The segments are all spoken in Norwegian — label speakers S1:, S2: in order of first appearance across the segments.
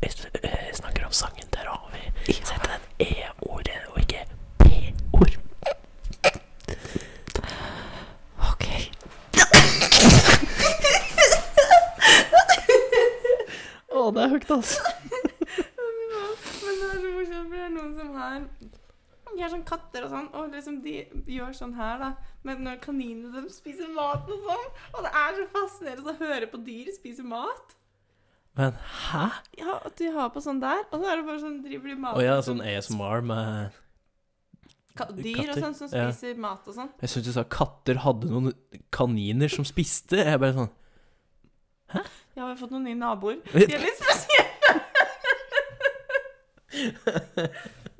S1: hvis vi eh, snakker om sangen, der har vi sett den E-ordet, og ikke P-ord.
S2: Ok.
S1: Å, det er høyt, altså.
S3: Men det er så morsomt, for det er noen som har De er sånn katter og sånn, og liksom de gjør sånn her, da. Men når kaninene dem spiser mat og sånn. Og det er så fascinerende å høre på dyr spise mat.
S1: Men hæ?
S3: Ja, at de har på sånn der, og så er det bare sånn driver de
S1: Å
S3: mat
S1: ja,
S3: og
S1: sånn ASMR med
S3: ka- Dyr og
S1: katter,
S3: sånn som
S1: ja.
S3: spiser mat og sånn.
S1: Jeg syns du sa katter hadde noen kaniner som spiste. Jeg bare sånn
S3: Ja, vi har fått noen nye naboer. De er litt spesielle.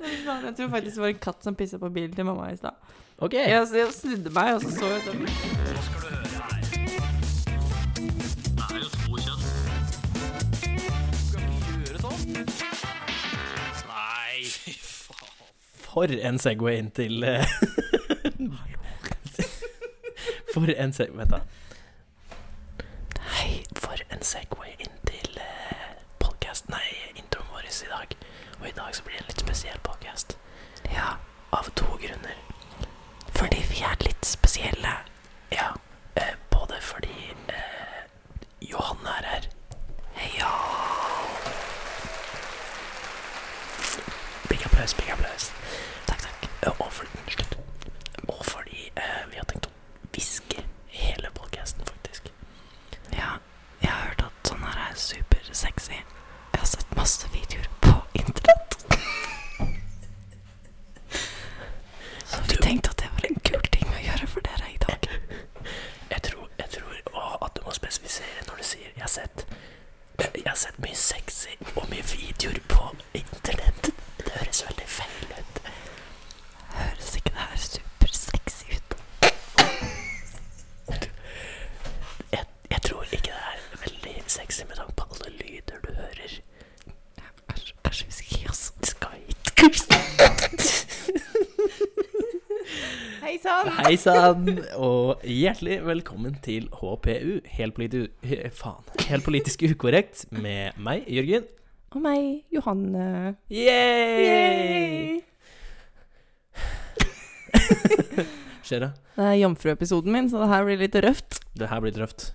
S3: Jeg tror faktisk det var en katt som pissa på bilen til mamma i stad.
S1: OK.
S3: Jeg, jeg snudde meg, og så så jeg sånn. utover.
S1: For en Segway inn til eh, For en Segway Vent, da. Hei, for en Segway inn til podkast Nei, introen vår i dag. Og i dag så blir det en litt spesiell podkast. Ja. Av to grunner. Fordi vi er litt spesielle. Ja. Eh, både fordi eh, Johanne er her. Ja. Big applaus, big applaus. Takk, takk. Og fordi, slutt. Og fordi eh, vi har tenkt å hviske hele podcasten, faktisk.
S2: Ja, jeg har hørt at sånn her er supersexy. Jeg har sett masse videoer på internett. Så vi tenkte at det var en kul ting å gjøre for dere i dag.
S1: Jeg tror, jeg tror å, at du må spesifisere når du sier jeg har sett eh, jeg har sett mye sexy og mye videoer på internett. Det høres veldig feil ut.
S2: Høres ikke det her supersexy ut?
S1: Jeg, jeg tror ikke det er veldig sexy med tanke på alle lyder du hører.
S2: Kanskje, kanskje vi skal gi oss?
S1: Skal vi
S3: Hei sann!
S1: Hei sann, og hjertelig velkommen til HPU, helt, politi he- faen, helt politisk ukorrekt, med meg, Jørgen.
S3: Og meg, Johanne.
S1: Yay!
S3: Yay!
S1: Skjer'a,
S3: Det er jomfruepisoden min, så det her blir litt røft.
S1: det her blir drøft.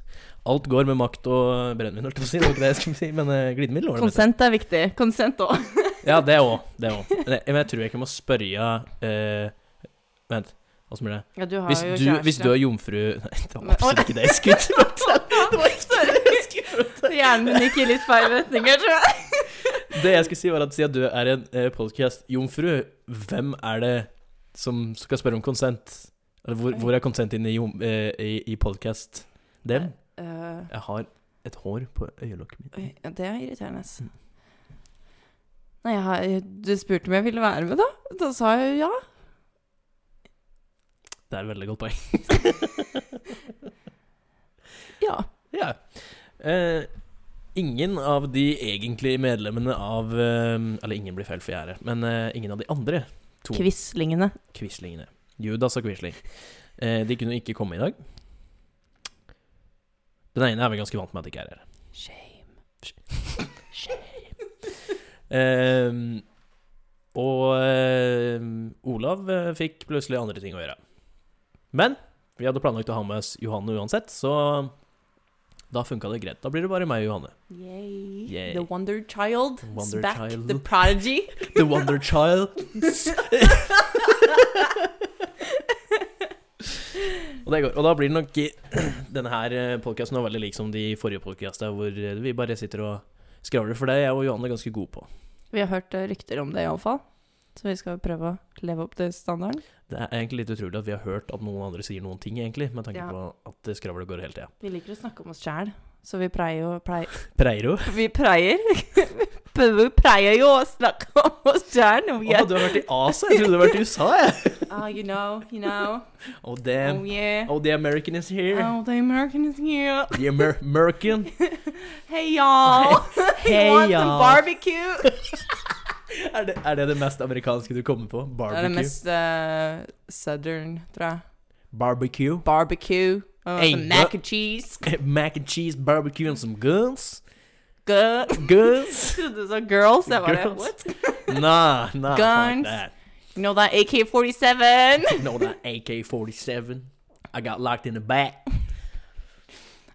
S1: Alt går med makt og brennevin, holdt jeg på å si. Det var ikke det jeg skulle si, men eh, glidemiddel var det. mitt.
S3: Konsent er viktig. Konsent òg.
S1: Ja, det òg. Det òg. Men jeg- Men jeg tror jeg ikke må spørre eh, Vent, åssen blir det?
S3: Ja, du har
S1: Hvis
S3: jo
S1: du,
S3: kjæreste.
S1: hvis du er jomfru Nei, det var
S3: Men-
S1: absolutt ikke det jeg skulle tro.
S3: Det var ikke det jeg skulle prøve. Hjernen min gikk i litt feil retning, jeg tror jeg.
S1: Det jeg skulle si var at siden du er en eh, podcast-jomfru, hvem er det som skal spørre om konsent? Eller hvor, hvor er konsent inne i, jom, eh, i, i podcast? Dem?
S3: Eh,
S1: Jeg har et hår på øyelokket mitt.
S3: oi, ja, det er irriterende. ass. Nei, jeg har, du spurte om jeg ville være med, da. Da sa jeg jo ja.
S1: Det er et veldig godt poeng.
S3: Ja.
S1: Ja. Eh, ingen av de egentlige medlemmene av eh, Eller ingen blir feil for jeg er her, men eh, ingen av de andre to
S3: Quislingene.
S1: quislingene. Judas og Quisling. Eh, de kunne ikke komme i dag. Den ene er vi ganske vant med at ikke er her.
S3: Shame.
S1: Ehm, og ehm, Olav eh, fikk plutselig andre ting å gjøre. Men vi hadde planlagt å ha med oss Johanne uansett, så da funka det greit. Da blir det bare meg og Johanne.
S3: Yay.
S1: Yay.
S3: The Wonder Child.
S1: Wonder
S3: is back.
S1: Child.
S3: The Prodigy.
S1: The Wonder Child. og det går. Og da blir det nok i- Denne her podkasten veldig lik som de forrige podkastene, hvor eh, vi bare sitter og skravler, for det er jeg og Johanne ganske gode på.
S3: Vi har hørt eh, rykter om det, iallfall. Så vi skal prøve å leve opp til standarden.
S1: Det er egentlig litt utrolig at vi har hørt at noen andre sier noen ting, egentlig, med tanke
S3: Ja.
S1: på at skravlet går hele tida.
S3: Vi liker å snakke om oss sjæl, så vi pleier jo pleier,
S1: Preiro?
S3: Vi pleier Vi pleier jo å snakke om oss sjæl når vi
S1: Å,
S3: er
S1: du har vært i Asia? Jeg trodde du har vært i USA, jeg.
S3: Ah, you know, you know.
S1: Oh,
S3: Oh
S1: damn.
S3: yeah.
S1: Oh, the American is here.
S3: Oh, the American is here.
S1: The Amer American.
S3: Hey y'all.
S1: Hey,
S3: you want
S1: y'all.
S3: some barbecue?
S1: Er det, er det det mest amerikanske du kommer på?
S3: Det er det
S1: Barbecue.
S3: mest eh, southern, tror jeg.
S1: Barbecue. Eh,
S3: Barbecue. Uh,
S1: Hey,
S3: some mac and cheese.
S1: Mac and cheese, barbecue, and some guns.
S3: Good.
S1: Guns?
S3: Trodde du sa girls. Jeg bare
S1: Girls.
S3: What?
S1: Nah, nah,
S3: Guns.
S1: fuck that.
S3: You know that AK-47?
S1: No, that AK-47. I got locked in the back.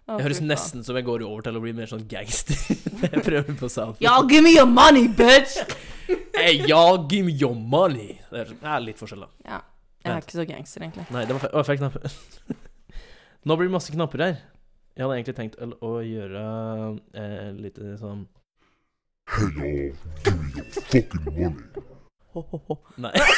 S3: Å,
S1: Det høres
S3: fy faen.
S1: nesten som jeg går over til å bli mer sånn gangster. jeg prøver på South.
S3: Y'all give me your money, bitch!
S1: Hey, y'all, give me your money! Det er, det er litt forskjell, da.
S3: Ja. Jeg er
S1: Vent.
S3: ikke så gangster, egentlig.
S1: Nei, det var feil. Å, jeg fikk knapp. Nå blir det masse knapper her. Jeg hadde egentlig tenkt å, å gjøre eh, litt eh, sånn
S4: Hey y'all, give me your fucking money.
S1: Ho-ho-ho. Nei.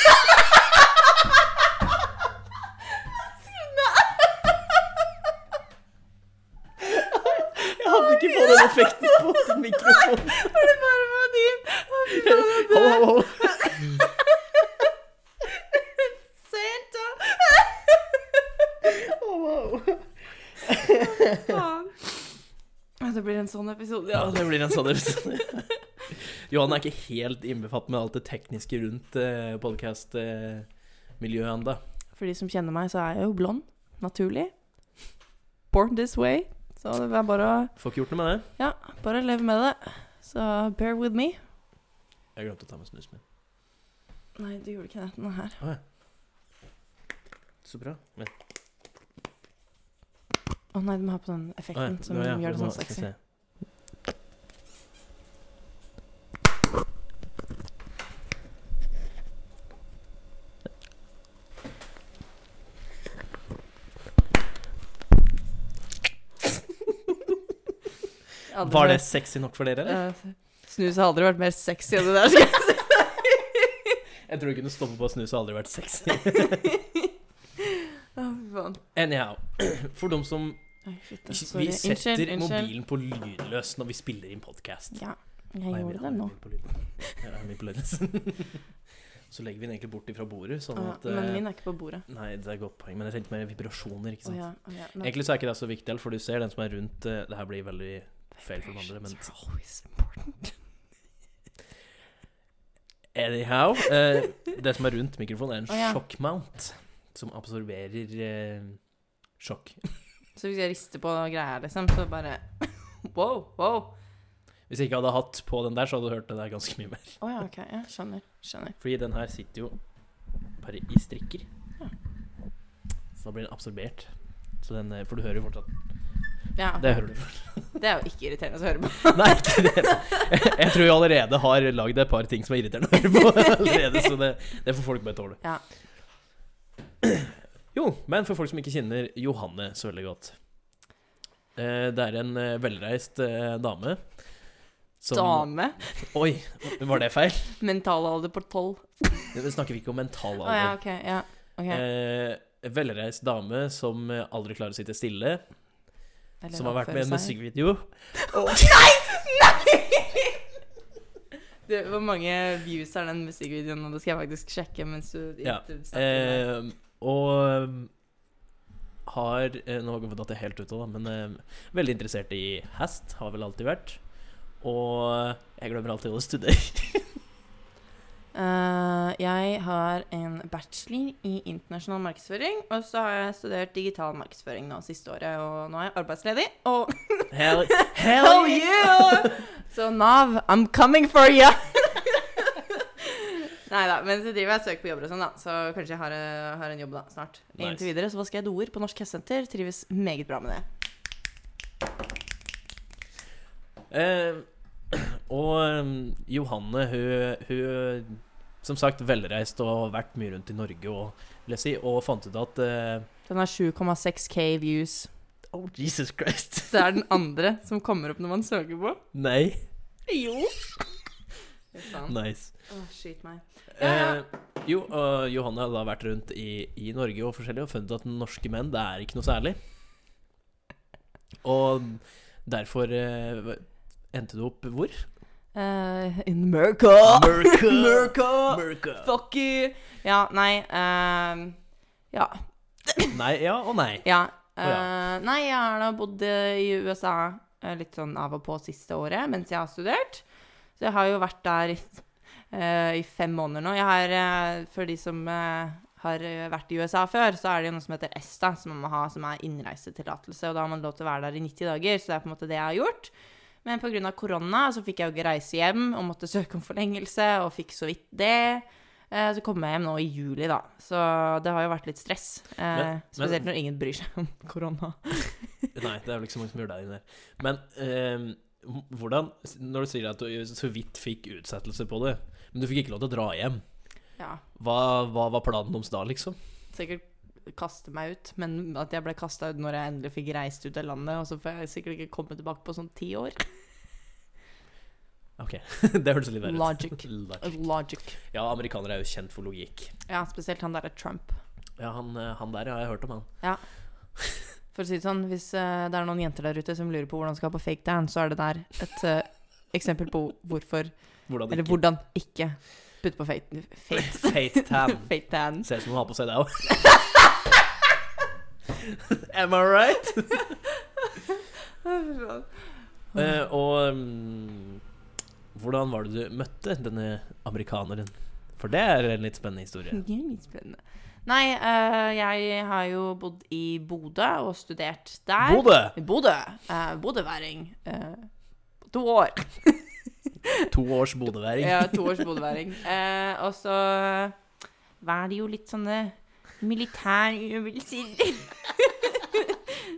S1: Jeg hadde ikke fått den effekten på den mikrofonen.
S3: Nei, for det bare var din. Å, fy faen,
S1: Ho, ho, ho.
S3: det er Santa! Faen. Ja, Det blir en sånn episode,
S1: Ja,
S3: ja.
S1: det blir en sånn episode. Johan er ikke helt innbefatt med alt det tekniske rundt eh, podkast-miljøet ennå.
S3: For de som kjenner meg, så er jeg jo blond. Naturlig. Born this way. Så det er bare å
S1: Får ikke gjort noe med det.
S3: Ja, bare leve med det. Så bear with me.
S1: Jeg glemte å ta med snusen min.
S3: Nei, du gjorde ikke det. Den er her.
S1: Så bra. Men,
S3: Å nei, du må ha på den
S1: Å
S3: effekten
S1: ja,
S3: som
S1: det var jeg.
S3: gjør det
S1: Nå
S3: sånn
S1: skal jeg
S3: sexy.
S1: se.
S3: Ja, det
S1: Var
S3: var-
S1: det sexy nok for dere, eller?
S3: Eh, Snus har aldri vært mer sexy enn det der. skal jeg si.
S1: Jeg tror du kunne stoppe på å snuse, har aldri vært sexy.
S3: Å, fy faen.
S1: Anyhow, for dem som
S3: Oi, fitte,
S1: Vi
S3: sorry.
S1: setter
S3: Unnskyld, unnskyld.
S1: mobilen på lydløs når vi spiller inn podkast.
S3: Ja, jeg gjorde det nå.
S1: Så legger vi den egentlig bort ifra bordet, sånn
S3: Ja,
S1: at
S3: men
S1: eh,
S3: min er ikke på bordet.
S1: Nei, det er et godt poeng, men jeg tenkte mer vibrasjoner, ikke
S3: Å
S1: sant.
S3: ja, å ja, men-
S1: Egentlig så er ikke det så viktig, for du ser den som er rundt eh, Det her blir veldig feil for de andre, men
S3: Vibrations are always important.
S1: Anyhow, eh, det som er rundt mikrofonen, er en
S3: Å, ja.
S1: sjokkmount som absorberer eh, sjokk.
S3: Så hvis jeg rister på greier, liksom, så bare Wow, wow.
S1: Hvis jeg ikke hadde hatt på den der, så hadde du hørt det der ganske mye mer.
S3: Å ja, OK. Ja, skjønner. Skjønner.
S1: Fordi den her sitter jo bare i strikker.
S3: Ja.
S1: Så da blir den absorbert. Så den, eh, for du hører jo fortsatt
S3: Ja,
S1: Det hører du fortsatt.
S3: det er jo ikke irriterende å høre på.
S1: Nei, ikke det. Jeg, jeg tror jeg allerede har lagd et par ting som er irriterende å høre på allerede, så det, det får folk bare tåle.
S3: Ja.
S1: Jo, men for folk som ikke kjenner Johanne så veldig godt eh, Det er en eh, velreist eh, dame som
S3: Dame.
S1: Oi, var det feil?
S3: Mentalalder på tolv.
S1: Det snakker vi ikke om mental
S3: Å
S1: alder.
S3: ja, OK. Ja. ok.
S1: Eh, velreist dame som eh, aldri klarer å sitte stille.
S3: Eller
S1: som har vært
S3: oppføre
S1: med i en
S3: seg.
S1: musikkvideo.
S3: Nei! Du, hvor mange views er den musikkvideoen? Og det skal jeg faktisk sjekke mens du
S1: Ja,
S3: du snakker.
S1: Eh, og um, har eh, Nå har jeg fått det helt ut av, da, men eh, veldig interessert i hest. Har vel alltid vært. Og eh, jeg glemmer alltid å studere.
S3: Eh, jeg har en bachelor i internasjonal markedsføring, og så har jeg studert digital markedsføring nå siste året, og nå er jeg arbeidsledig. Og
S1: Hell,
S3: hell
S1: hell yeah!
S3: yeah! Så Nav, I'm coming for you! Nei da, men så driver jeg og søker på jobber og sånn, da. Så kanskje jeg har, eh, har en jobb da, snart.
S1: Nice.
S3: Inntil videre så vasker jeg doer på Norsk Hestsenter. Trives meget bra med det.
S1: Eh, og um, Johanne, hun, hun Som sagt velreist og har vært mye rundt i Norge og, vil jeg si, og fant ut at eh,
S3: Den har 7,6K views.
S1: Oh, Jesus Christ.
S3: Det er den andre som kommer opp når man søker på.
S1: Nei.
S3: Jo. Faen.
S1: Nice.
S3: Å, skyt meg. Ja, ja.
S1: Eh, jo, og Johanne har da vært rundt i, i Norge og forskjellig og funnet at norske menn, det er ikke noe særlig. Og derfor eh, endte du opp hvor?
S3: Eh, in America.
S1: America.
S3: America.
S1: America.
S3: Fuck you. Ja, nei ehm, Ja.
S1: Nei, ja og nei.
S3: ja.
S1: Å,
S3: Eh, nei, jeg har da bodd eh, i USA eh, litt sånn av og på siste året mens jeg har studert. Så jeg har jo vært der i, eh, i fem måneder nå. Jeg har, eh, For de som eh, har eh, vært i USA før, så er det jo noe som heter ESTA, som man må ha, som er innreisetillatelse. Og da har man lov til å være der i 90 dager, så det er på en måte det jeg har gjort. Men pga. korona så fikk jeg jo ikke reise hjem og måtte søke om forlengelse, og fikk så vidt det. Eh, Så kom jeg hjem nå i juli, da. Så det har jo vært litt stress. Eh,
S1: Men-
S3: spesielt
S1: men-
S3: når ingen bryr seg om korona.
S1: Nei, det er vel ikke så mange som gjør det her inne. Men eh, hvordan Når du sier at du så vidt fikk utsettelse på det, men du fikk ikke lov til å dra hjem,
S3: Ja,
S1: hva, hva var planen deres da, liksom?
S3: sikkert kaste meg ut, men at jeg ble kasta ut når jeg endelig fikk reist ut av landet, og så får jeg sikkert ikke komme tilbake på sånn ti år.
S1: Ok, det hørtes litt verre ut.
S3: Logic.
S1: Logic.
S3: Logic.
S1: Ja, amerikanere er jo kjent for logikk.
S3: Ja, spesielt han derre Trump.
S1: Ja, han, eh, han der ja, jeg har hørt om, han.
S3: For å si det sånn, hvis eh, det er noen jenter der ute som lurer på hvordan de skal på fake dance, så er det der et eh, eksempel på hvorfor,
S1: Hvordan
S3: eller
S1: ikke
S3: hvordan ikke putte på fake, fake,
S1: Fate tan.
S3: fake dance.
S1: Ser ut som hun har på seg det òg. Am I right? Eh, og mm, hvordan var det du møtte denne amerikaneren? For det er en litt spennende historie.
S3: Det er litt spennende. Nei, eh, jeg har jo bodd i Bodø og studert der.
S1: Bodø!
S3: I Bodø. eh, Bodøværing. eh, to år.
S1: To års bodøværing.
S3: Ja, to års bodøværing. Eh, og så var det jo litt sånne militærøvelser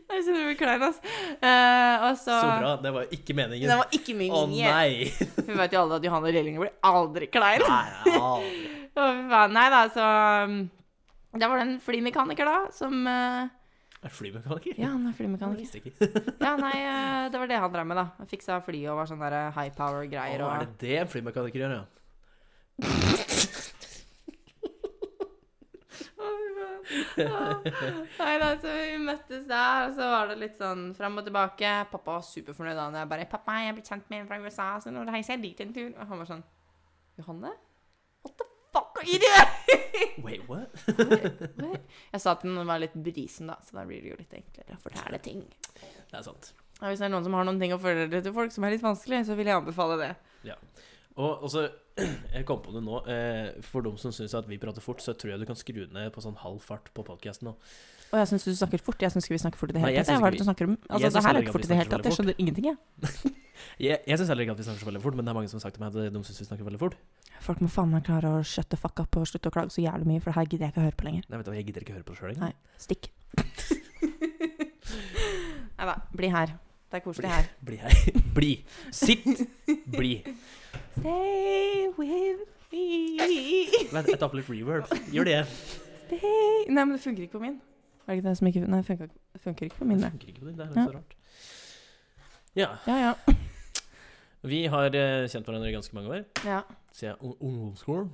S3: Jeg kjenner meg klein, altså. Eh, og så
S1: Så bra. Det var ikke meningen.
S3: Det var ikke min
S1: Å
S3: linje.
S1: nei!
S3: Vi vet jo alle at Johanne Rellinger blir aldri klein.
S1: Nei, aldri.
S3: Og vi bare, nei da, så um, Da var det en flymekaniker, da, som eh,
S1: Er flymekaniker?
S3: Ja, han er
S1: Jeg
S3: flymekaniker.
S1: visste ikke.
S3: Ja, nei, eh, det var det han drev med, da. Han Fiksa fly og var sånn der eh, high power-greier.
S1: Å,
S3: og...
S1: er det det en flymekaniker gjør, ja?
S3: Nei da, så vi møttes der, og så var det litt sånn fram og tilbake. Pappa var superfornøyd da når jeg bare 'Pappa, jeg er blitt kjent med en fra USA, så nå reiser jeg dit en tur.' Og han var sånn 'Johanne? What the fuck are you doing?'
S1: Wait, what?
S3: jeg sa til han var litt brisen, da, så da blir det jo litt enklere å fortelle ting.
S1: Det er sant.
S3: Og hvis det er noen som har noen ting å fortelle til folk som er litt vanskelig, så vil jeg anbefale det.
S1: Og og så, jeg kom på det nå, eh, for de som syns at vi prater fort, så tror jeg du kan skru ned på sånn halv fart på podkasten nå.
S3: Og jeg syns du snakker fort. Jeg syns ikke vi snakker fort i det
S1: Nei,
S3: hele
S1: jeg
S3: tatt.
S1: synes
S3: Hva er
S1: ikke
S3: det du snakker om? Altså,
S1: jeg
S3: det
S1: synes
S3: her
S1: heller
S3: er
S1: ikke at
S3: ikke
S1: vi
S3: fort i det hele
S1: snakker
S3: tatt. Jeg
S1: veldig
S3: skjønner ingenting, jeg.
S1: Jeg, jeg syns heller ikke at vi snakker så veldig fort, men det er mange som har sagt til meg at de syns vi snakker veldig fort.
S2: Folk må faen meg klare å shut the fuck up og slutte å klage så jævlig mye, for det her gidder jeg ikke å høre på lenger.
S1: Nei, vet du, hva, jeg gidder ikke høre på det sjøl engang.
S2: Nei. Stikk.
S3: Nei da, bli her. Det er koselig her.
S1: Bli her. Bli. Sitt. Bli.
S3: Stay with me.
S1: Vent, jeg tar på litt reverb. Gjør det.
S3: Stay Nei, men det funker ikke på min. Er det ikke det som ikke Nei, det funker, funker ikke på min, det.
S1: Funker ikke på din, det er litt så rart. Ja.
S3: Ja, ja.
S1: Vi har eh, kjent hverandre i ganske mange år,
S3: ja.
S1: siden ung- ungdomsskolen.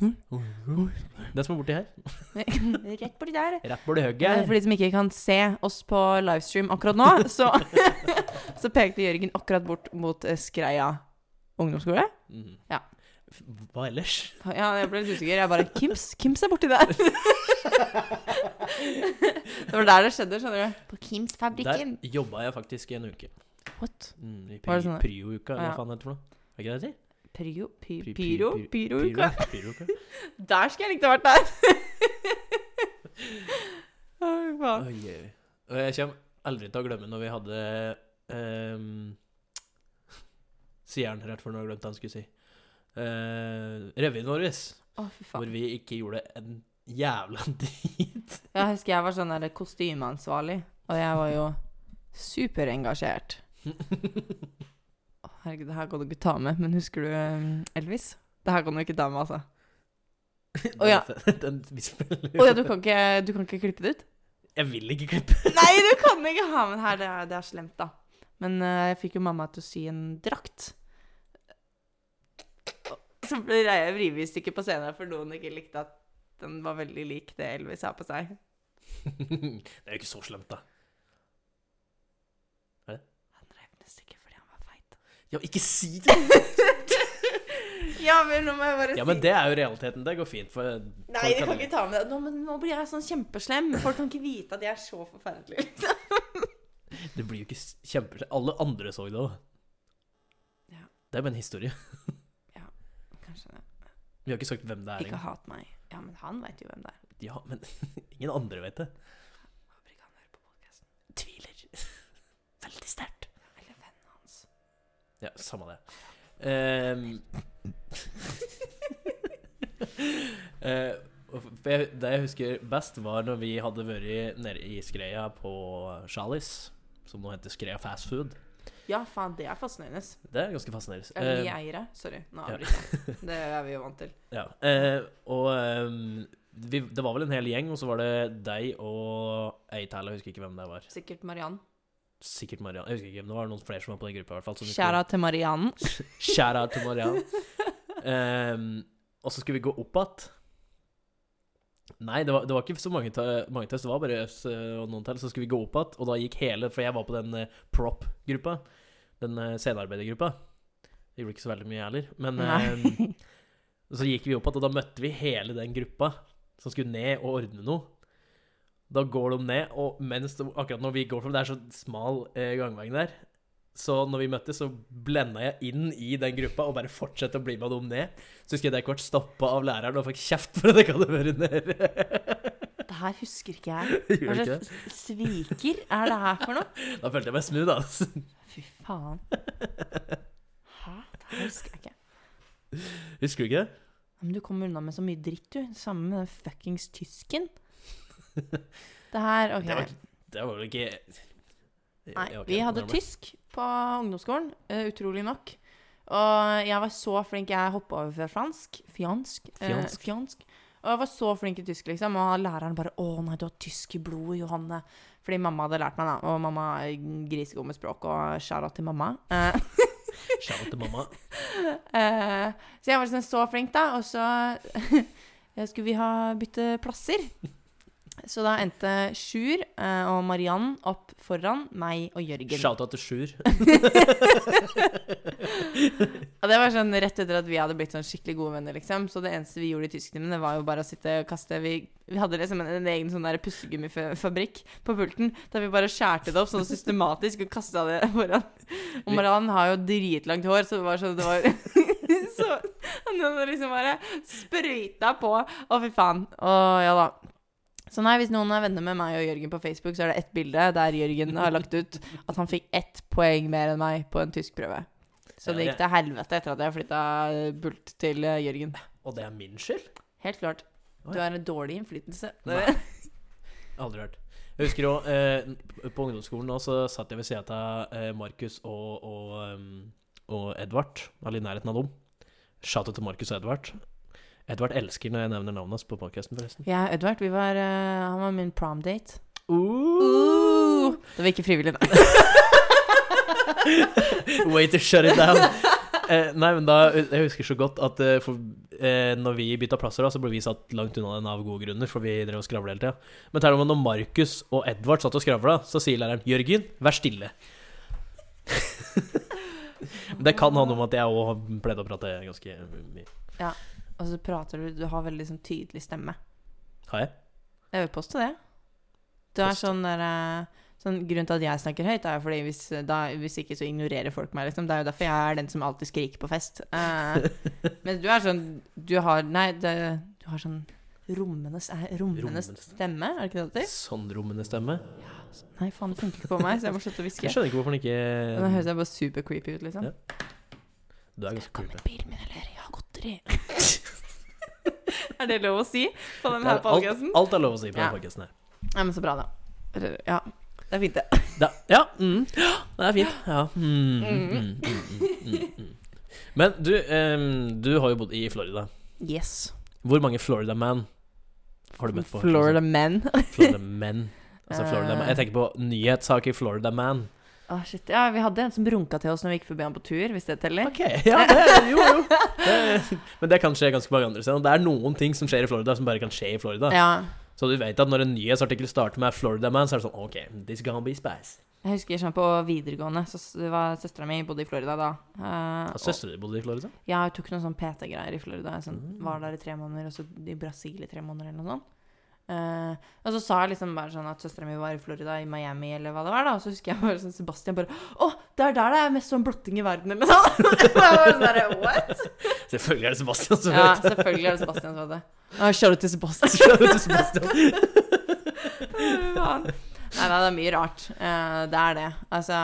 S1: Den som er borti her.
S3: Rett borti der.
S1: Rett borti høgget
S3: Eh,
S1: her.
S3: For de som ikke kan se oss på livestream akkurat nå, så, så pekte Jørgen akkurat bort mot eh, Skreia ungdomsskole.
S1: Mhm.
S3: Ja.
S1: F- Hva ellers?
S3: Ja, jeg ble litt usikker. Jeg bare Kims, Kims er borti der. det var der det skjedde, skjønner du. På
S1: Der
S3: Kims-fabrikken.
S1: jobba jeg faktisk i en uke.
S3: What?
S1: Mm, I
S3: Var det
S1: pri-
S3: sånn-
S1: Prio-uka, eller
S3: Ja.
S1: hva faen heter det for noe? Er ikke det det heter?
S3: Pyro? Py,
S1: Py- py-
S3: pyro? Pyrouka?
S1: Prio- Prio-uka?
S3: Der skulle jeg likt å vært der. Å, fy faen.
S1: Oi, oi, oi. Og jeg kommer aldri til å glemme når vi hadde um, Sier han rett før nå har jeg glemt hva han skulle si. Uh, Revyen vår,
S3: Å, fy
S1: hvor
S3: faen.
S1: vi ikke gjorde en jævla drit.
S3: Jeg husker jeg var sånn der kostymeansvarlig, og jeg var jo superengasjert. Å, Herregud, det her kan du ikke ta med, men husker du um, Elvis? Det her kan du ikke ta med, altså. Å, ja.
S1: Den vi spiller
S3: Å ja, du kan ikke, du kan ikke klippe det ut?
S1: Jeg vil ikke klippe.
S3: Nei, du kan ikke ha med det her. Det er, det er slemt, da. Men eh, jeg fikk jo mamma til å sy en drakt. Så ble jeg revet i stykker på scenen for noen ikke likte at den var veldig lik det Elvis har på seg.
S1: det er jo ikke så slemt, da.
S3: Han rev den i stykker fordi han var feit.
S1: Ja, ikke si det!
S3: ja, men nå må jeg bare
S1: Ja,
S3: si
S1: men det er jo realiteten. Det går fint. For
S3: Nei, de kan ikke ta med det. Nå, men, nå blir jeg sånn kjempeslem. Folk kan ikke vite at jeg er så forferdelig.
S1: Det blir jo ikke s- kjempe... Alle andre så det òg.
S3: Ja.
S1: Det er bare en historie.
S3: Kanskje det.
S1: Vi har ikke sagt hvem det er
S3: Ikke
S1: engang.
S3: hat meg. Ja, men han veit jo hvem det er.
S1: Ja, men ingen andre vet det.
S3: Håper ikke han hører på podkasten.
S1: Tviler. Veldig sterkt.
S3: Eller vennen hans.
S1: Ja, samme det. Ehm, eh, og f- for jeg- det jeg husker best, var når vi hadde vært nede i Skreia på Charlies, som nå heter Skreia Fast Food.
S3: Ja, faen, det er fascinerende.
S1: Det er ganske fascinerende.
S3: Eller vi
S1: Eh,
S3: eiere. Sorry, nå
S1: ja.
S3: avbryter jeg. Det er vi jo vant til.
S1: Ja, eh, og ehm, vi, det var vel en hel gjeng, og så var det deg og ei til, jeg husker ikke hvem det var.
S3: Sikkert Mariann.
S1: Sikkert Mariann. Jeg husker ikke, men det var noen flere som var på den gruppa, i hvert fall. som vi skulle-
S3: Kjære til Mariann.
S1: Shout out til Mariann. Ehm, og så skulle vi gå opp igjen. Nei, det var, det var ikke så mange ta- mange til oss, det var bare oss eh, og noen til. Så skulle vi gå opp igjen, og da gikk hele For jeg var på den eh, prop-gruppa. Den eh, scenearbeidergruppa. Det gjorde ikke så veldig mye, jeg heller. Men ehm,
S3: Nei.
S1: så gikk vi opp igjen, og da møtte vi hele den gruppa som skulle ned og ordne noe. Da går de ned, og mens de, akkurat når vi går frem, det er så smal eh, gangvei der, så når vi møttes, så blenda jeg inn i den gruppa og bare fortsatte å bli med dem ned. Så husker jeg at jeg ble stoppa av læreren og fikk kjeft for at jeg ikke hadde vært nede.
S3: Det her husker ikke jeg. Hva
S1: Gjør du ikke det?
S3: slags Altså, sviker er det her for noe?
S1: Da følte jeg meg smooth, altså.
S3: Fy faen. Hæ? Det her husker jeg ikke.
S1: Husker du ikke det?
S3: Men du kommer unna med så mye dritt, du. Sammen med den fuckings tysken. Det her OK.
S1: Det var, det var vel ikke
S3: Nei,
S1: Jeg var ikke
S3: vi
S1: helt
S3: hadde
S1: med.
S3: tysk på ungdomsskolen, eh, utrolig nok. Og jeg var så flink. Jeg hoppa over fra fransk. Fjansk. eh,
S1: Fjansk.
S3: fjansk. Og jeg var så flink i tysk, liksom. Og læreren bare 'Å nei, du har tysk i blodet, Johanne'. Fordi mamma hadde lært meg, da. Og mamma er grisegod med språk, og skjæra til mamma. Eh,
S1: Shout out til mamma.
S3: Eh, så jeg var liksom så flink, da. Og så eh, skulle vi ha bytte plasser. Så da endte Sjur eh, og Mariann opp foran meg og Jørgen.
S1: Shout out til Sjur.
S3: Og det var sånn rett etter at vi hadde blitt sånn skikkelig gode venner, liksom. Så det eneste vi gjorde i tysktimene, var jo bare å sitte og kaste Vi, vi hadde liksom en, en egen sånn der pussegummifabrikk på pulten, der vi bare skjærte det opp sånn systematisk og kasta det foran. Og
S1: Vi-
S3: Maran har jo dritlangt hår, så det var sånn det var Så han hadde liksom bare sprøyta på. Å, fy faen. Å, ja da. Så nei, hvis noen er venner med meg og Jørgen på Facebook, så er det ett bilde der Jørgen har lagt ut at han fikk ett poeng mer enn meg på en tyskprøve. Så
S1: Ja,
S3: det
S1: det-
S3: gikk til helvete etter at jeg flytta bult til eh, Jørgen.
S1: Og det er min skyld?
S3: Helt klart.
S1: Å,
S3: Du
S1: ja.
S3: er en dårlig innflytelse.
S1: Nei. Aldri hørt. Jeg husker òg, eh, på ungdomsskolen også, så satt jeg ved sida av eh, Markus og, og, em, og Edvard. Eller i nærheten av dem. Shout-out til Markus og Edvard. Edvard elsker når jeg nevner navnet hans på podkasten, forresten.
S3: Jeg og Edvard, vi var, eh, han var min prom-date.
S1: Uh!
S3: Det var ikke frivillig, da.
S1: Way to shut it down. Eh, nei, men da, Jeg husker så godt at eh, for, eh, når vi bytta plasser, da, så ble vi satt langt unna den av gode grunner, for vi drev og skravla hele tida. Men til og med når Markus og Edvard satt og skravla, så sier læreren 'Jørgen, vær stille'. det kan handle om at jeg òg pleide å prate ganske mye.
S3: Og så prater du Du har veldig sånn tydelig stemme.
S1: Har jeg?
S3: Jeg vil påstå det. Du er
S1: Påstå.
S3: sånn der eh, sånn, Grunnen til at jeg snakker høyt, er jo fordi hvis, eh, da, hvis ikke så ignorerer folk meg, liksom. Det er jo derfor jeg er den som alltid skriker på fest. Eh, men du er sånn Du har Nei, det, du har sånn rommende, s- eh, rommende
S1: Rommende.
S3: stemme, er det ikke det det heter?
S1: Sånn rommende stemme.
S3: Nei, faen, det funker ikke på meg, så jeg må slutte å
S1: Jeg
S3: hviske.
S1: skjønner ikke hvorfor den
S3: Nå høres
S1: ikke
S3: jeg bare super creepy ut, liksom.
S1: Ja. Du er ganske kul.
S2: Bilen min, eller? Jeg har godteri.
S3: Er det lov å si på
S1: Det
S3: den
S1: er
S3: her
S1: Alt,
S3: podkasten?
S1: alt er lov å si på
S3: Ja.
S1: den podkasten her.
S3: Nei, men så bra, da. Eller, Ja. Det er fint, det.
S1: Da, ja, mm, det er fint. Ja. Mm, mm, mm, mm, mm, mm. Men du, em, du har jo bodd i Florida.
S3: Yes.
S1: Hvor mange Florida Man har du møtt på?
S3: Florida Eh. men.
S1: Florida Men. Altså Florida Man. Jeg tenker på nyhetssak i Florida Man.
S3: Ah, shit. Ja, vi hadde en som runka til oss når vi gikk forbi han på tur, hvis det teller.
S1: Ok, ja, det, jo, jo. Det, men det kan skje ganske mange andre steder. Det er noen ting som skjer i Florida, som bare kan skje i Florida.
S3: Ja.
S1: Så du vet at når en nyhetsartikkel starter med Florida Man, så er det sånn OK, this gonna be spice.
S3: Jeg husker sånn på videregående, så s- det var søstera mi bodde i Florida da. Eh,
S1: Har søstera di bodd i Florida?
S3: og- ja, hun tok noen sånn PT-greier i Florida. Jeg sånn,
S1: Mm.
S3: var der i tre måneder, og så i Brasil i tre måneder, eller noe sånt. Eh, og så sa jeg liksom bare sånn at søstera mi var i Florida, i Miami, eller hva det var, da. Og så husker jeg bare sånn Sebastian bare Å, det er der det er mest sånn blotting i verden, eller noe sånt. Og jeg bare sånn der, What?
S1: Selvfølgelig er det Sebastian som
S3: Ja,
S1: vet
S3: selvfølgelig er det Sebastian som hadde det. Å, Kjør ut til Sebastian.
S1: Shout out til Sebastian.
S3: Faen. Nei, nei, det er mye rart. Eh, det er det. Altså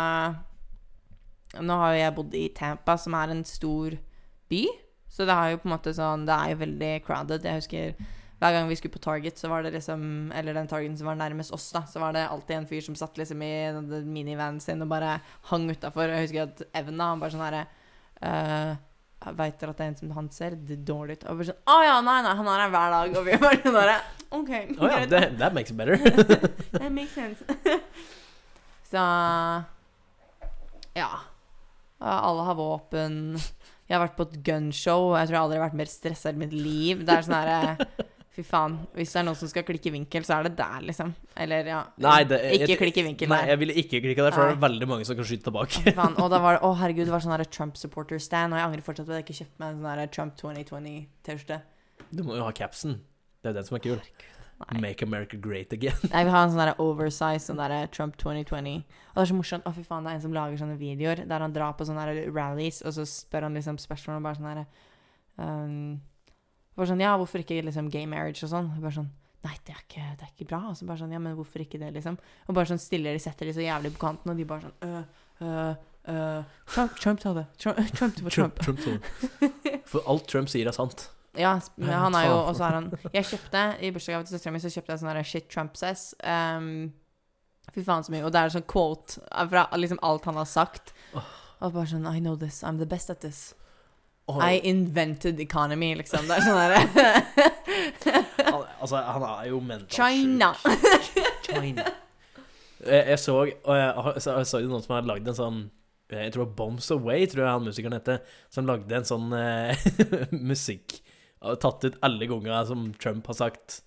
S3: Nå har jo jeg bodd i Tampa, som er en stor by. Så det er jo på en måte sånn Det er jo veldig crowded. Jeg husker hver gang vi skulle på Target, så var det liksom Eller den Targeten som var nærmest oss, da, så var det alltid en fyr som satt liksom i den minivanen sin og bare hang utafor. Jeg husker at Even, da, han bare sånn herre eh, jeg Veit dere at det er en som han ser det dårlig ut? Og bare sånn Å ja, nei, nei, han er her hver dag. Og vi bare sånn herre OK.
S1: Å ja,
S3: greit, da.»
S1: that, that makes it better.
S3: That makes sense. Så Ja. Alle har våpen. Jeg har vært på et gunshow, og jeg tror jeg aldri har vært mer stressa i mitt liv. Det er sånn herre Fy faen. Hvis det er noen som skal klikke vinkel, så er det der, liksom. Eller, ja.
S1: Nei, det, jeg-
S3: ikke
S1: jeg-
S3: klikke vinkel.
S1: Nei, jeg ville ikke klikka der, for det er
S3: Nei.
S1: veldig mange som kan skyte tilbake.
S3: Fy faen. Og da var det Å, herregud, det var sånn herre Trump-supporter-stand, og jeg angrer fortsatt på at jeg ikke kjøpte meg en sånn herre Trump 2020-T-skjorte.
S1: Du må jo ha capsen. Det er jo den som er kul.
S3: Nei.
S1: Make America great again.
S3: Nei, vi har en sånn der oversize, sånn der Trump 2020. Og det er så morsomt. Å, fy faen, det er en som lager sånne videoer der han drar på sånne der rallies, og så spør han liksom spørsmål om bare sånn derre ehm, Bare sånn Ja, hvorfor ikke liksom gay marriage og sånn? Og Bare sånn Nei, det er ikke, det er ikke bra. Og så bare sånn Ja, men hvorfor ikke det, liksom? Og bare sånn stiller de setter de så jævlig på kanten, og de bare sånn øh, øh, øh, Trump, Trump sa det. Trump, Trump det var Trump.
S1: Trump, Trump, sa- For alt Trump sier, er sant.
S3: Ja, sp- men
S1: Ja,
S3: han er jo
S1: faen.
S3: Og så er han Jeg kjøpte i bursdagsgave til søstera mi, så kjøpte jeg sånn der shit Trump says. Um, fy faen så mye. Og det er sånn quote fra liksom alt han har sagt. Og bare sånn I know this. I'm the best at this.
S1: Og-
S3: I invented economy, liksom. Det er sånn derre
S1: han, altså, han er jo mentalt
S3: China.
S1: sjuk. China. Jeg, jeg så og jeg, har- så- jeg så jo noen som hadde lagd en sånn Jeg tror det var Bombs Away, tror jeg han musikeren heter, som lagde en sånn eh, musikk og Tatt ut alle ganger som Trump har sagt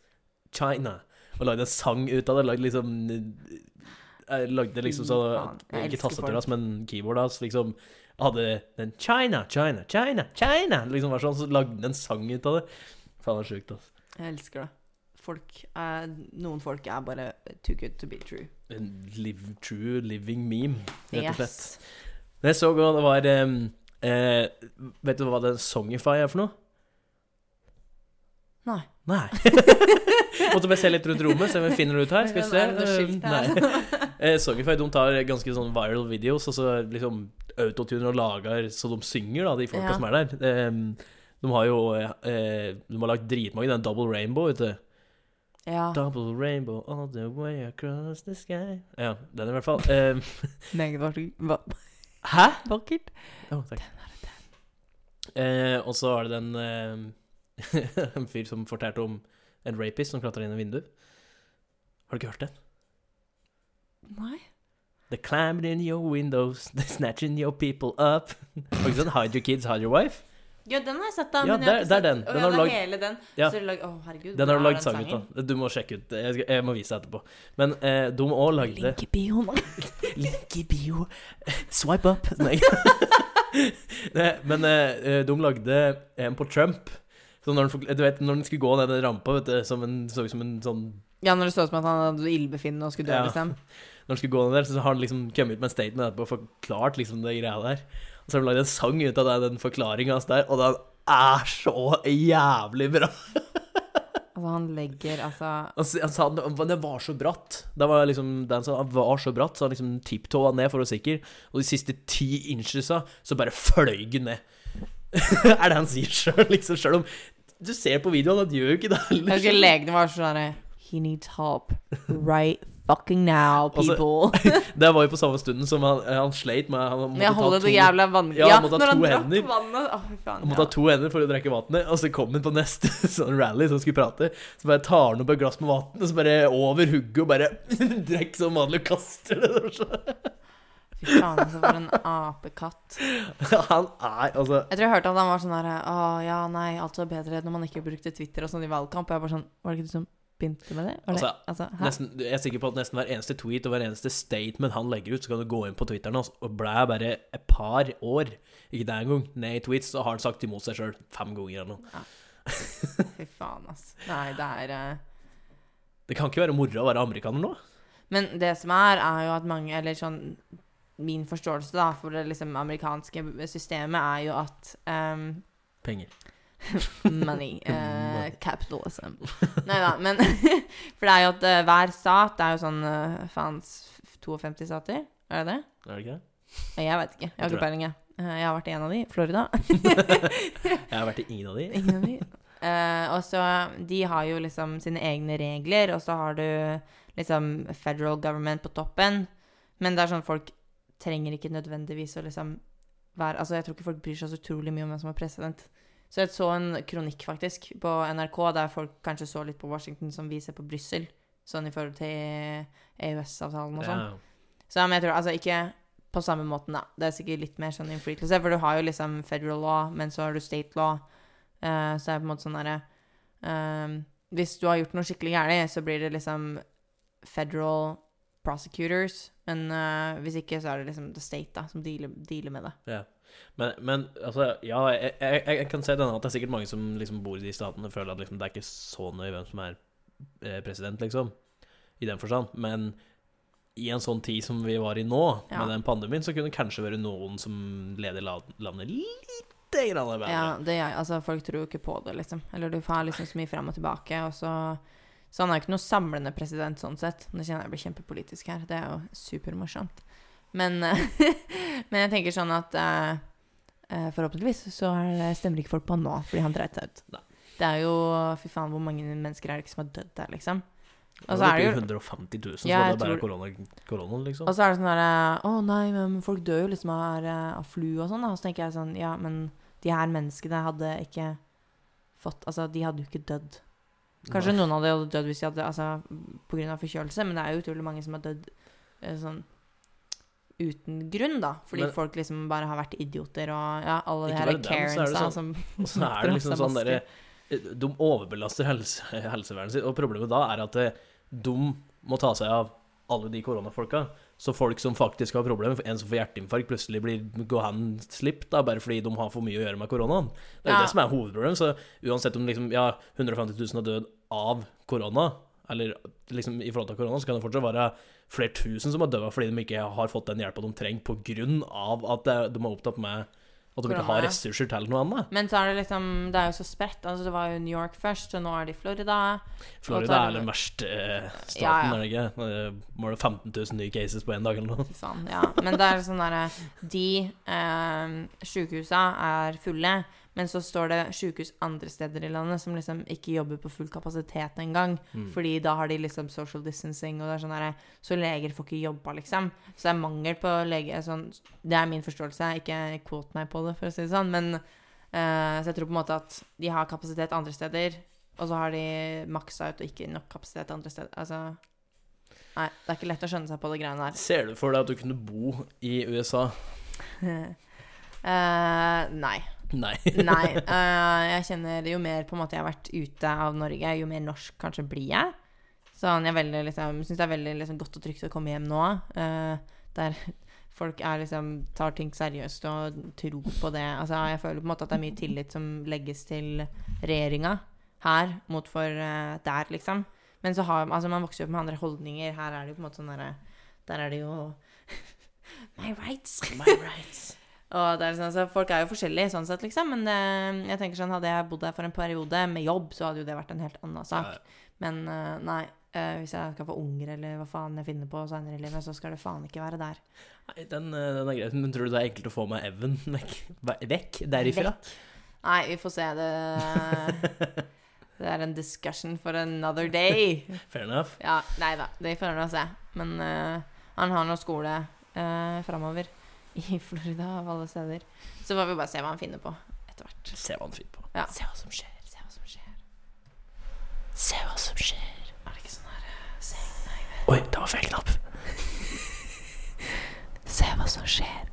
S1: 'China', og lagde en sang ut av det. Lagde liksom jeg Lagde liksom så
S3: Fy faen, jeg
S1: Ikke
S3: elsker
S1: tastaturet hans, men keyboardet hans. Liksom, hadde den 'China, China, China, China' Liksom var sånn, Så lagde han en sang ut av det. Faen, det er sjukt, altså.
S3: Jeg elsker det. Folk er, Noen folk er bare too good to be true.
S1: En live, true living meme, rett og slett.
S3: Yes.
S1: Men Jeg så også det var em, eh, Vet du hva det Songify er for noe?
S3: Nei.
S1: Nei. Måtte bare se litt rundt rommet, se om vi finner det ut her. Skal vi se.
S3: Er det noe skilt
S1: Eh,
S3: her?
S1: Nei. Eh, Songify de tar ganske sånn viral videos, og så liksom autotuner og lager så de synger, da, de folka
S3: Ja.
S1: som er der. Em, de har jo eh, eh, De har lagt dritmange den Double Rainbow, vet du.
S3: Ja.
S1: Double Rainbow all the way across the sky. Ja, den i hvert fall. Em,
S3: Meget vakkert.
S1: Hæ?
S3: Vakkert.
S1: Å, takk. Eh, og så var det den eh, En fyr som fortalte om en rapist som klatra inn i vinduet. Har du ikke hørt den?
S3: Nei.
S1: They climbed in your windows, they snatching your people up. Har du ikke sånn Hide your kids, hide your wife?
S3: Ja, den har jeg sett, da.
S1: Ja,
S3: men jeg har
S1: der-
S3: ikke
S1: der
S3: sett-
S1: den.
S3: Å,
S1: Den
S3: ja,
S1: har du
S3: det er
S1: lagd-
S3: hele den.
S1: Ja.
S3: Så har du lagd Å, herregud.
S1: Den har du
S3: hvor er
S1: lagd sang ut av. Du må sjekke ut. Jeg, skal, jeg må vise deg etterpå. Men eh, de òg lagde
S2: Link i bioen.
S1: Link i bio. Swipe up. Nei. Nei, Men eh, de lagde en på Trump. Så når den, forkl- du vet, når den skulle gå ned den rampa, vet du, som en, så ut som en sånn
S3: Ja, når det så ut som at han hadde ildbefinnende og skulle dø,
S1: Ja.
S3: liksom.
S1: Når han skulle gå ned der, så har han liksom kommet ut med en statement etterpå og forklart liksom det greia der. Og så har han lagd en sang ut av det, den forklaringa hans der, og den er så jævlig bra!
S3: Altså, han legger altså
S1: Han, s- han sa at det var så bratt. Det var liksom, den sa han var så bratt, så han liksom tipptåa ned for å være sikker. Og de siste ti inchesa, så bare fløy han ned. er det han sier sjøl, liksom? Sjøl om du ser på videoen, han gjør jo ikke det
S3: Jeg
S1: heller.
S3: husker legene var sånn derre He needs help right fucking now,
S1: Altså,
S3: people.
S1: Det var jo på samme stunden som han, eh, han sleit med Han måtte
S3: jeg holder det jævla vann...
S1: Ja, han måtte ha
S3: når han
S1: to
S3: drakk
S1: hender.
S3: vannet Å, fy faen.
S1: Han måtte ha to hender for å drikke vannet, og så kom han på neste sånn rally som skulle prate. Så bare tar han opp et glass med vann, og så bare over hugget og bare drikker som vanlig og kaster det.
S3: ja. Fy faen, altså, for en apekatt.
S1: Han er altså
S3: Jeg tror jeg hørte at han var sånn derre Å ja, nei, alt var bedre når man ikke brukte Twitter og sånn i valgkamp. Og jeg bare sånn Var det ikke du som begynte med det? Var det
S1: Altså,
S3: hæ?
S1: Nesten, jeg er sikker på at nesten hver eneste tweet og hver eneste statement han legger ut, så kan du gå inn på Twitteren hans og blæ bare et par år, ikke det engang, ned i tweets, så har han sagt imot seg sjøl fem ganger eller noe.
S3: Fy faen, ass. Nei, det er eh,
S1: Det kan ikke være moro å være amerikaner nå.
S3: Men det som er, er jo at mange Eller sånn Min forståelse da for det liksom amerikanske systemet er jo at ehm,
S1: Penger.
S3: Money. eh, capitalism. Nei da, men For det er jo at eh, hver stat Det er jo sånn uh, faens eh, 52 stater, er det det?
S1: Er det ikke det?
S3: Nei, Jeg veit ikke. Jeg har
S1: Jeg tror
S3: ikke peiling, jeg. Eh, Jeg har vært i en av de. Florida.
S1: Jeg har vært i ingen av de.
S3: Ingen av de. Eh, og så De har jo liksom sine egne regler, og så har du liksom federal government på toppen. Men det er sånn folk trenger ikke nødvendigvis å liksom være Altså, jeg tror ikke folk bryr seg så utrolig mye om hvem som er president. Så jeg så en kronikk, faktisk, på NRK der folk kanskje så litt på Washington som vi ser på Brussel, sånn i forhold til EØS-avtalen og sånn.
S1: Ja.
S3: Så ja, men jeg tror, altså ikke på samme måten da. Det er sikkert litt mer sånn innflytelse, for du har jo liksom federal law, men så har du state law. Eh, så er det på en måte sånn derre ehm, Hvis du har gjort noe skikkelig gærent, så blir det liksom federal prosecutors, men eh, hvis ikke, så er det liksom the state da, som dealer, dealer med det.
S1: Men, men altså, ja, jeg, jeg, jeg kan se denne at det er sikkert mange som liksom bor i de statene og føler at liksom, det er ikke så nøye hvem som er eh, president, liksom. I den forstand. Men i en sånn tid som vi var i nå,
S3: Ja.
S1: med den pandemien, så kunne det kanskje være noen som leder la- landet lite grann bedre.
S3: Ja, det er, altså folk tror jo ikke på det, liksom. Eller du får liksom så mye frem og tilbake, og så Så han er jo ikke noe samlende president sånn sett. Nå kjenner jeg jeg blir kjempepolitisk her. Det er jo supermorsomt. Men, eh, men jeg tenker sånn at eh, eh, forhåpentligvis så er det, stemmer ikke folk på han nå, fordi han dreit seg ut.
S1: Nei.
S3: Det er jo Fy faen, hvor mange mennesker er det ikke som har dødd der, liksom?
S1: Og så er det jo 150 000, så
S3: Ja,
S1: var
S3: jeg
S1: det bare
S3: tror-
S1: korona, korona, liksom.
S3: og så er det sånn der Å nei, men folk dør jo liksom av, eh, av flu og sånn. da." Og så tenker jeg sånn Ja, men de her menneskene hadde ikke fått Altså, de hadde jo ikke dødd. Kanskje
S1: Nei.
S3: noen av dem hadde dødd hvis de hadde Altså på grunn av forkjølelse, men det er jo utrolig mange som har dødd eh, sånn uten grunn, da. Fordi
S1: Men-
S3: folk liksom bare har vært idioter og Ja, alle de
S1: Ikke
S3: her
S1: bare dem,
S3: altså.
S1: så er det
S3: Karensa
S1: sånn-
S3: som
S1: Og så er det liksom
S3: Masse
S1: sånn derre
S3: masker.
S1: De overbelaster helse, helsevernet sitt, og problemet da er at eh, de må ta seg av alle de koronafolka. Så folk som faktisk har problemer, en som får hjerteinfarkt, plutselig blir går han slipp da, bare fordi de har for mye å gjøre med koronaen. Det er jo
S3: Ja.
S1: det som er hovedproblemet. Så uansett om liksom, ja, 150 000 har dødd av korona, eller liksom i forhold til korona, så kan det fortsatt være flere tusen som har dødd fordi de ikke har fått den hjelpa de trenger på grunn av at det- de er opptatt med at de ikke
S3: Korona,
S1: har
S3: ja.
S1: ressurser til noe annet.
S3: Men så er det liksom Det er jo så spredt. Altså, det var jo New York først, og nå er det i Florida. Og
S1: Florida
S3: tar-
S1: er den verste eh, staten,
S3: Ja, ja.
S1: er det ikke? Eh, Var det 15 000 nye cases på én dag eller noe?
S3: Fy faen, ja. Men det er sånn derre De eh, sjukehusa er fulle, men så står det sjukehus andre steder i landet som liksom ikke jobber på full kapasitet engang.
S1: Mm.
S3: Fordi da har de liksom social distancing, og det er sånn derre Så leger får ikke jobba, liksom. Så det er mangel på lege sånn, Det er min forståelse, ikke quote meg på det, for å si det sånn. Men eh, Så jeg tror på en måte at de har kapasitet andre steder, og så har de maksa ut og ikke nok kapasitet andre steder. Altså Nei, det er ikke lett å skjønne seg på de greiene der.
S1: Ser du for deg at du kunne bo i USA?
S3: Eh, nei.
S1: Nei.
S3: Nei. Eh, jeg kjenner jo mer på en måte jeg har vært ute av Norge, jo mer norsk kanskje blir jeg. Sånn, jeg veldig, liksom, syns det er veldig liksom, godt og trygt å komme hjem nå. eh, der folk er, liksom, tar ting seriøst og tror på det. Altså, jeg føler på en måte at det er mye tillit som legges til regjeringa her mot for eh, der, liksom. Men så har altså, man vokser jo opp med andre holdninger. Her er det jo på en måte sånn derre Der er det jo My rights. My rights. Og det er sånn, så Folk er jo forskjellige sånn sett, liksom. Men eh, jeg tenker sånn, hadde jeg bodd der for en periode med jobb, så hadde jo det vært en helt annen sak. Men eh, nei. eh, hvis jeg skal få unger, eller hva faen jeg finner på seinere i livet, så skal det faen ikke være der.
S1: Nei, den, eh, den er greit, men tror du det er enkelt å få med Evan vekk, vekk derifra?
S3: Nei, vi får se. Det, det er en discussion for another day.
S1: Fair enough.
S3: Ja, nei da. Det får vi nå se. Men eh, han har nå skole uh, framover i Florida, av alle steder. Så får vi bare se hva han finner på etter hvert.
S1: Se hva han finner på.
S3: Ja.
S1: Se hva som skjer.
S3: Se hva som skjer. Se hva som skjer. Er det ikke sånn her eh, Se, nei, vent.
S1: Oi, det var feil knapp.
S3: se hva som skjer.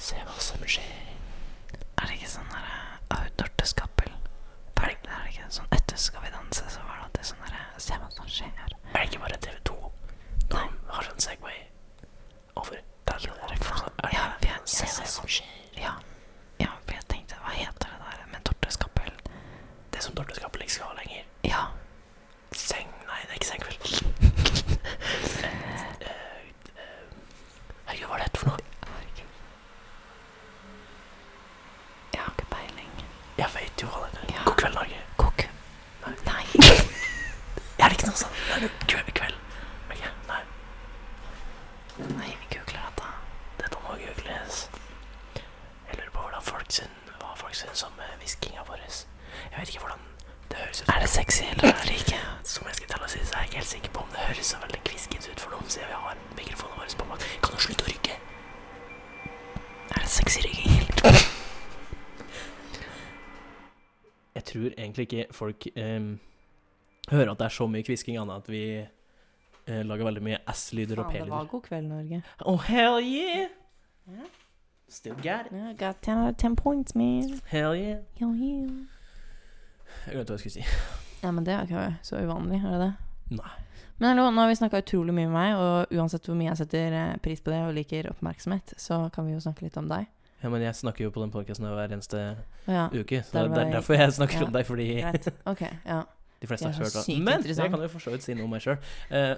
S1: Se hva som skjer.
S2: Er det ikke sånn der eh, Aud Dorteskappel? Er det er det ikke sånn Etter Skal vi danse, så var det alltid sånn der eh, Se hva som skjer.
S1: Er det ikke bare TV 2 som har en Segway over? Der, er det ikke- er det-
S2: Ja, vi er,
S1: Se hva som skjer.
S2: ja, ja, for jeg tenkte Hva heter det der med Dorteskappel?
S1: Det som Dorte Skappel ikke skal ha lenger.
S2: Ja.
S1: Seng Nei, det er ikke sengkveld. Herregud, hva er dette for noe?
S2: Herregud. Jeg har ikke peiling.
S1: Jeg vet jo hva det heter.
S2: Ja.
S1: God kveld, Norge.
S2: Kokk. Nei.
S1: Jeg er ikke noe sånn. Nei, det er kveld. kveld. Men ikke- Nei.
S2: Nei.
S1: syns om eh, hviskinga vår. Jeg vet ikke hvordan det høres ut.
S2: Er det sexy, eller er det ikke?
S1: Som jeg skal til å si, så er jeg ikke helt sikker på om det høres så veldig kviskent ut for noen, siden vi har mikrofonen vår på makt. Kan du slutte å rykke?
S2: Er det sexy rigging?
S1: Jeg tror egentlig ikke folk em, hører at det er så mye kvisking annet at vi eh, lager veldig mye S-lyder og
S3: Faen, det var
S1: P-lyder.
S3: god kveld, Norge.
S1: Oh, hell yeah!
S3: Ja.
S1: Still got it.
S3: Yeah, got 10 out of 10 points, man.
S1: Hell yeah.
S3: Yo, yo.
S1: Jeg glemte hva jeg skulle si.
S3: Ja, men det er ikke så uvanlig, er det det?
S1: Nei.
S3: Men hallo, nå har vi snakka utrolig mye om meg, og uansett hvor mye jeg setter eh, pris på det og liker oppmerksomhet, så kan vi jo snakke litt om deg.
S1: Ja, men jeg snakker jo på den podcasten hver eneste
S3: Å Ja,
S1: uke,
S3: Der
S1: så det
S3: var
S1: er
S3: jeg-
S1: derfor jeg snakker
S3: Ja,
S1: om deg, fordi
S3: greit. Ok, ja.
S1: de fleste
S3: Jeg er
S1: har hørt
S3: så
S1: det.
S3: sykt
S1: Men jeg
S3: interessant.
S1: kan jo for så vidt si noe om meg sjøl.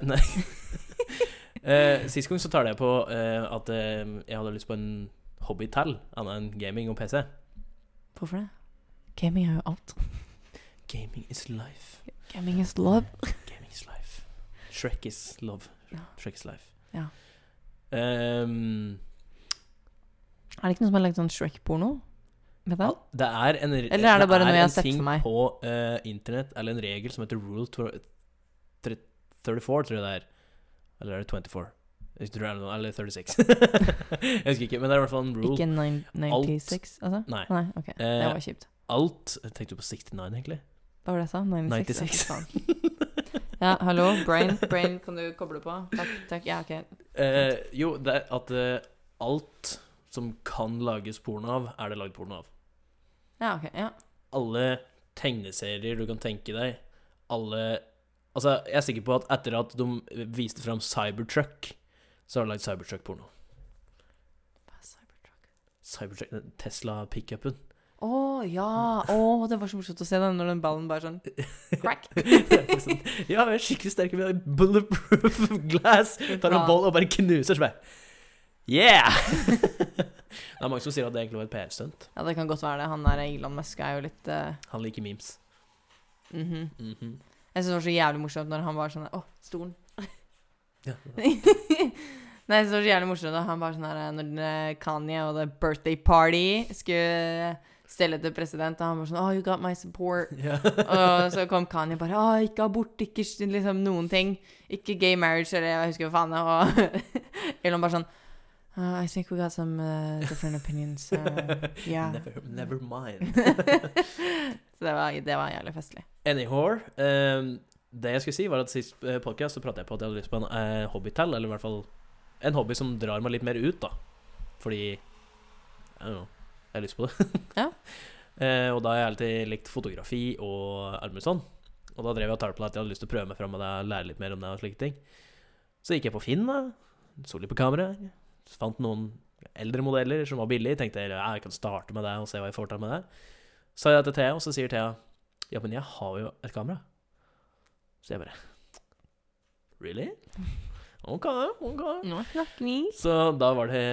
S1: nei. Eh, sist gang så tar jeg på eh, at eh, jeg hadde lyst på en hobby til, annet enn gaming og PC.
S3: Hvorfor det? Gaming er jo alt.
S1: Gaming is life.
S3: Gaming is love.
S1: Gaming is life. Shrek is love.
S3: Ja.
S1: Shrek is life.
S3: Ja.
S1: Ehm,
S3: Er det ikke noen som har lagd sånn Shrek-porno? Vet du?
S1: det er en Eller
S3: er det bare noe jeg har sett
S1: ting
S3: for meg?
S1: på eh, internett, eller en regel som heter rule tw- tre- 34, tror jeg det er. Eller er det 24? Jeg tror det er noe, eller 36. jeg husker ikke, men det er i hvert fall en rule.
S3: Ikke nine- 96, altså?
S1: Nei.
S3: Nei, ok. Det
S1: Eh,
S3: var kjipt.
S1: Alt Tenkte du på 69, egentlig?
S3: Hva var det jeg sa?
S1: 96.
S3: 96? Ja, fy faen. ja, hallo, brain. Brain, kan du koble på? Takk, takk. Ja, ok.
S1: Eh, jo, det er at eh, alt som kan lages porno av, er det lagd porno av.
S3: Ja, ok. Ja.
S1: alle tegneserier du kan tenke deg, alle Altså, jeg er sikker på at etter at de viste fram Cybertruck, så har de lagd Cybertruck-porno.
S3: Hva er Cybertruck?
S1: Cybertruck, den Tesla-pickupen.
S3: Å ja! Å, det var så morsomt å se den når den ballen bare sånn Crack.
S1: liksom, ja, vi er skikkelig sterke. Vi har bulletproof glass. Tar en boll og bare knuser. Så bare Yeah! det er mange som sier at det egentlig var et PR-stunt.
S3: Ja, det kan godt være det. Han der Elon Musk er jo litt eh,
S1: Han liker memes.
S3: mhm.
S1: Mhm.
S3: Jeg syns det var så jævlig morsomt når han var sånn Å, stolen.
S1: Ja.
S3: Nei, jeg synes det var så jævlig morsomt da han bare sånn her eh, Når eh, Kanye og the birthday party skulle stelle til president, og han bare sånn Oh, you got my support.
S1: ja.
S3: Og så kom Kanye bare Å, ikke abort, ikke s- liksom noen ting. Ikke gay marriage, eller jeg husker hva faen. det var. Og Elon bare sånn «Uh, I think we got some uh, different opinions. uh, yeah.
S1: never, never mind.
S3: så det var, det var jævlig festlig.
S1: Anyhow, ehm, det jeg skulle si var at sist eh, podcast så pratet jeg på at jeg hadde lyst på en eh, hobby til, eller i hvert fall en hobby som drar meg litt mer ut, da. Fordi I don't know, jeg har lyst på det.
S3: Ja.
S1: Eh, og da har jeg alltid likt fotografi og alt mulig sånn. Og da drev jeg og talte på at jeg hadde lyst til å prøve meg fram med det, lære litt mer om det og slike ting. Så gikk jeg på Finn, da. Så litt på kameraet. Så Fant noen eldre modeller som var billige. Tenkte jeg, ja, jeg kan starte med det og se hva jeg får til med det. Så sa jeg det til Thea, og så sier Thea ja, men jeg har jo et kamera. Så jeg bare Really? Ok, ok.
S3: Nå snakker vi.
S1: Så da var det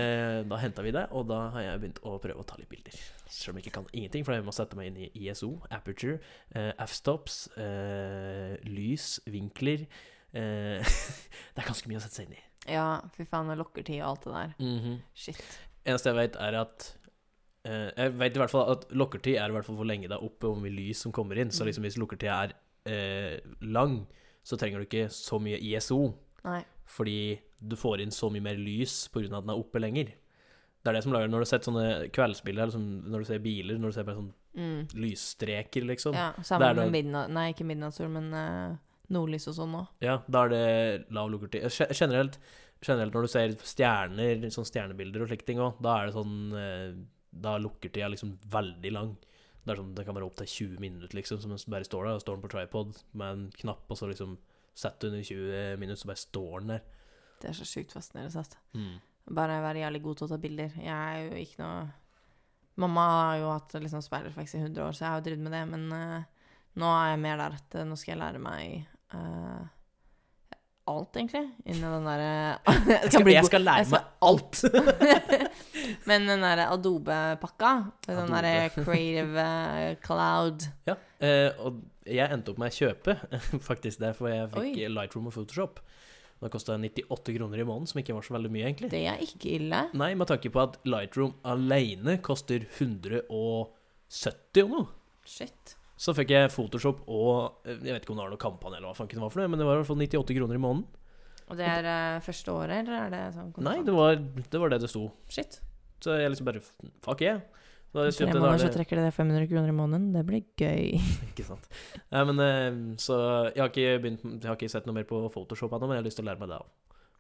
S1: Da henta vi det, og da har jeg begynt å prøve å ta litt bilder. Selv om jeg ikke kan ingenting, for jeg må sette meg inn i ISO, aperture, eh, f-stops, eh, lys, vinkler eh, Det er ganske mye å sette seg inn i.
S3: Ja, fy faen, det lokker tid og alt det der.
S1: Mhm.
S3: Shit.
S1: Eneste jeg vet, er at eh, Jeg vet i hvert fall at lukkertid er i hvert fall hvor lenge det er oppe, hvor mye lys som kommer inn. Så
S3: Mm.
S1: liksom hvis lukkertid er eh, lang, så trenger du ikke så mye ISO.
S3: Nei.
S1: Fordi du får inn så mye mer lys pga. at den er oppe lenger. Det er det som lager Når du har sett sånne kveldsbilder, eller sånn, når du ser biler, når du ser bare sånne
S3: Mm.
S1: lysstreker, liksom Ja,
S3: Ja,
S1: Det er
S3: sammen
S1: da-
S3: med midnatt... Nei, ikke midnattssol, men eh, nordlys og sånn nå.
S1: da er det lav lukkertid. Eh, ge- Generelt, generelt når du ser stjerner, sånn stjernebilder og slike ting òg, da er det sånn eh, Da er lukkertida liksom veldig lang. Det er sånn, det kan være opptil 20 minutter, liksom, som bare står der. Og står den på tripod med en knapp, og så liksom setter du den i 20 minutter, så bare står den der.
S3: Det er så sjukt fascinerende. sant?
S1: Mm.
S3: Bare være jævlig god til å ta bilder. Jeg er jo ikke noe Mamma har jo hatt liksom speiderflex i 100 år, så jeg har jo drevet med det. Men eh, nå er jeg mer der at eh, nå skal jeg lære meg eh, alt, egentlig. Innen den eh, derre
S1: Jeg, skal, jeg skal lære
S3: jeg skal-
S1: meg alt!
S3: Men den derre Adobe-pakka. Den
S1: Adobe.
S3: derre Creative eh, Cloud.
S1: Ja, eh, og jeg endte opp med å kjøpe, faktisk, derfor jeg fikk
S3: Oi.
S1: Lightroom og Photoshop. Det kosta 98 kroner i måneden, som ikke var så veldig mye, egentlig.
S3: Det er ikke ille.
S1: Nei, med tanke på at Lightroom alene koster 120 70 og noe.
S5: Shit.
S1: Så fikk jeg Photoshop og eh, Jeg vet ikke om det var noe kampanje eller hva faen det var for noe, men det var i hvert fall 98 kroner i måneden.
S5: Og det er eh, første året, eller er det sånn? kontant?
S1: Nei, det var det var det, det sto.
S5: Shit.
S1: Så jeg liksom bare Fuck yeah. Så jeg
S3: Tre
S1: kjøpte
S3: måneder, så
S1: en
S3: trekker det 500 kroner i måneden. Det blir gøy.
S1: Ikke sant. Nei, men eh, så jeg har, ikke begynt, jeg har ikke sett noe mer på Photoshop ennå, men jeg har lyst til å lære meg det òg.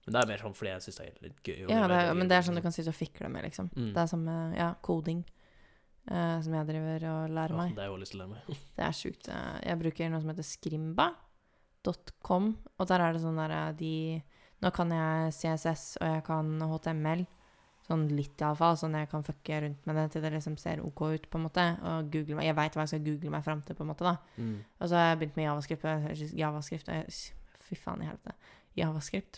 S1: Men det er mer sånn fordi jeg syns det er litt gøy. og
S3: Ja,
S1: mer
S3: det er,
S1: gøy.
S3: men det er sånn du kan sitte og fikle med, liksom.
S1: Mm.
S3: Det er samme ja, koding eh, som jeg driver og lærer
S1: Ja,
S3: meg.
S1: det har jeg også lyst til å lære meg.
S3: Det er sjukt. eh, Jeg bruker noe som heter skrimba.com, og der er det sånn der eh, de Nå kan jeg CSS, og jeg kan HTML. Sånn litt iallfall, sånn jeg kan fucke rundt med det til det liksom ser OK ut, på en måte. Og google meg. Jeg veit hva jeg skal google meg fram til, på en måte, da.
S1: Mm.
S3: Og så har jeg begynt med javascript. og jeg- javascript og jeg, fy faen i helvete. Javascript.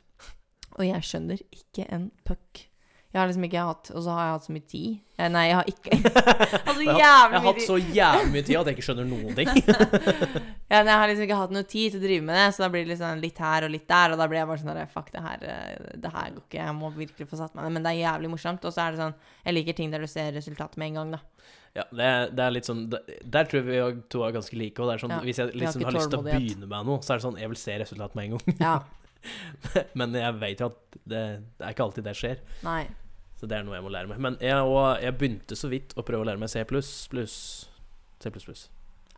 S3: Og jeg skjønner ikke en puck. Jeg har liksom ikke hatt Og så har jeg hatt så mye tid. Eh, Nei, jeg har ikke Altså
S1: Jeg har- Jeg
S3: jævlig
S1: har
S3: mye
S1: hatt
S3: tid.
S1: så jævlig mye tid at jeg ikke skjønner noen ting.
S3: Ja, nei, jeg har liksom ikke hatt noe tid til å drive med det, så da blir det liksom litt her og litt der, og da blir jeg bare sånn der, Fuck, det her, eh, det her går ikke. Jeg må virkelig få satt meg ned. Men det er jævlig morsomt. Og så er det sånn Jeg liker ting der du ser resultatet med en gang, da.
S1: Ja, det, er- det er litt sånn det- Der tror jeg vi er- to er ganske like. Og det er sånn,
S3: Ja,
S1: hvis jeg
S3: vi har
S1: liksom
S3: ikke
S1: har lyst til å
S3: tålmodighet.
S1: begynne med noe, så er det sånn Jeg vil se resultatet med en gang.
S3: Ja.
S1: Men jeg vet jo at det, det er ikke alltid det skjer.
S3: Nei.
S1: Så det er noe jeg må lære meg. Men jeg, og, jeg begynte så vidt å prøve å lære meg C pluss. C pluss pluss.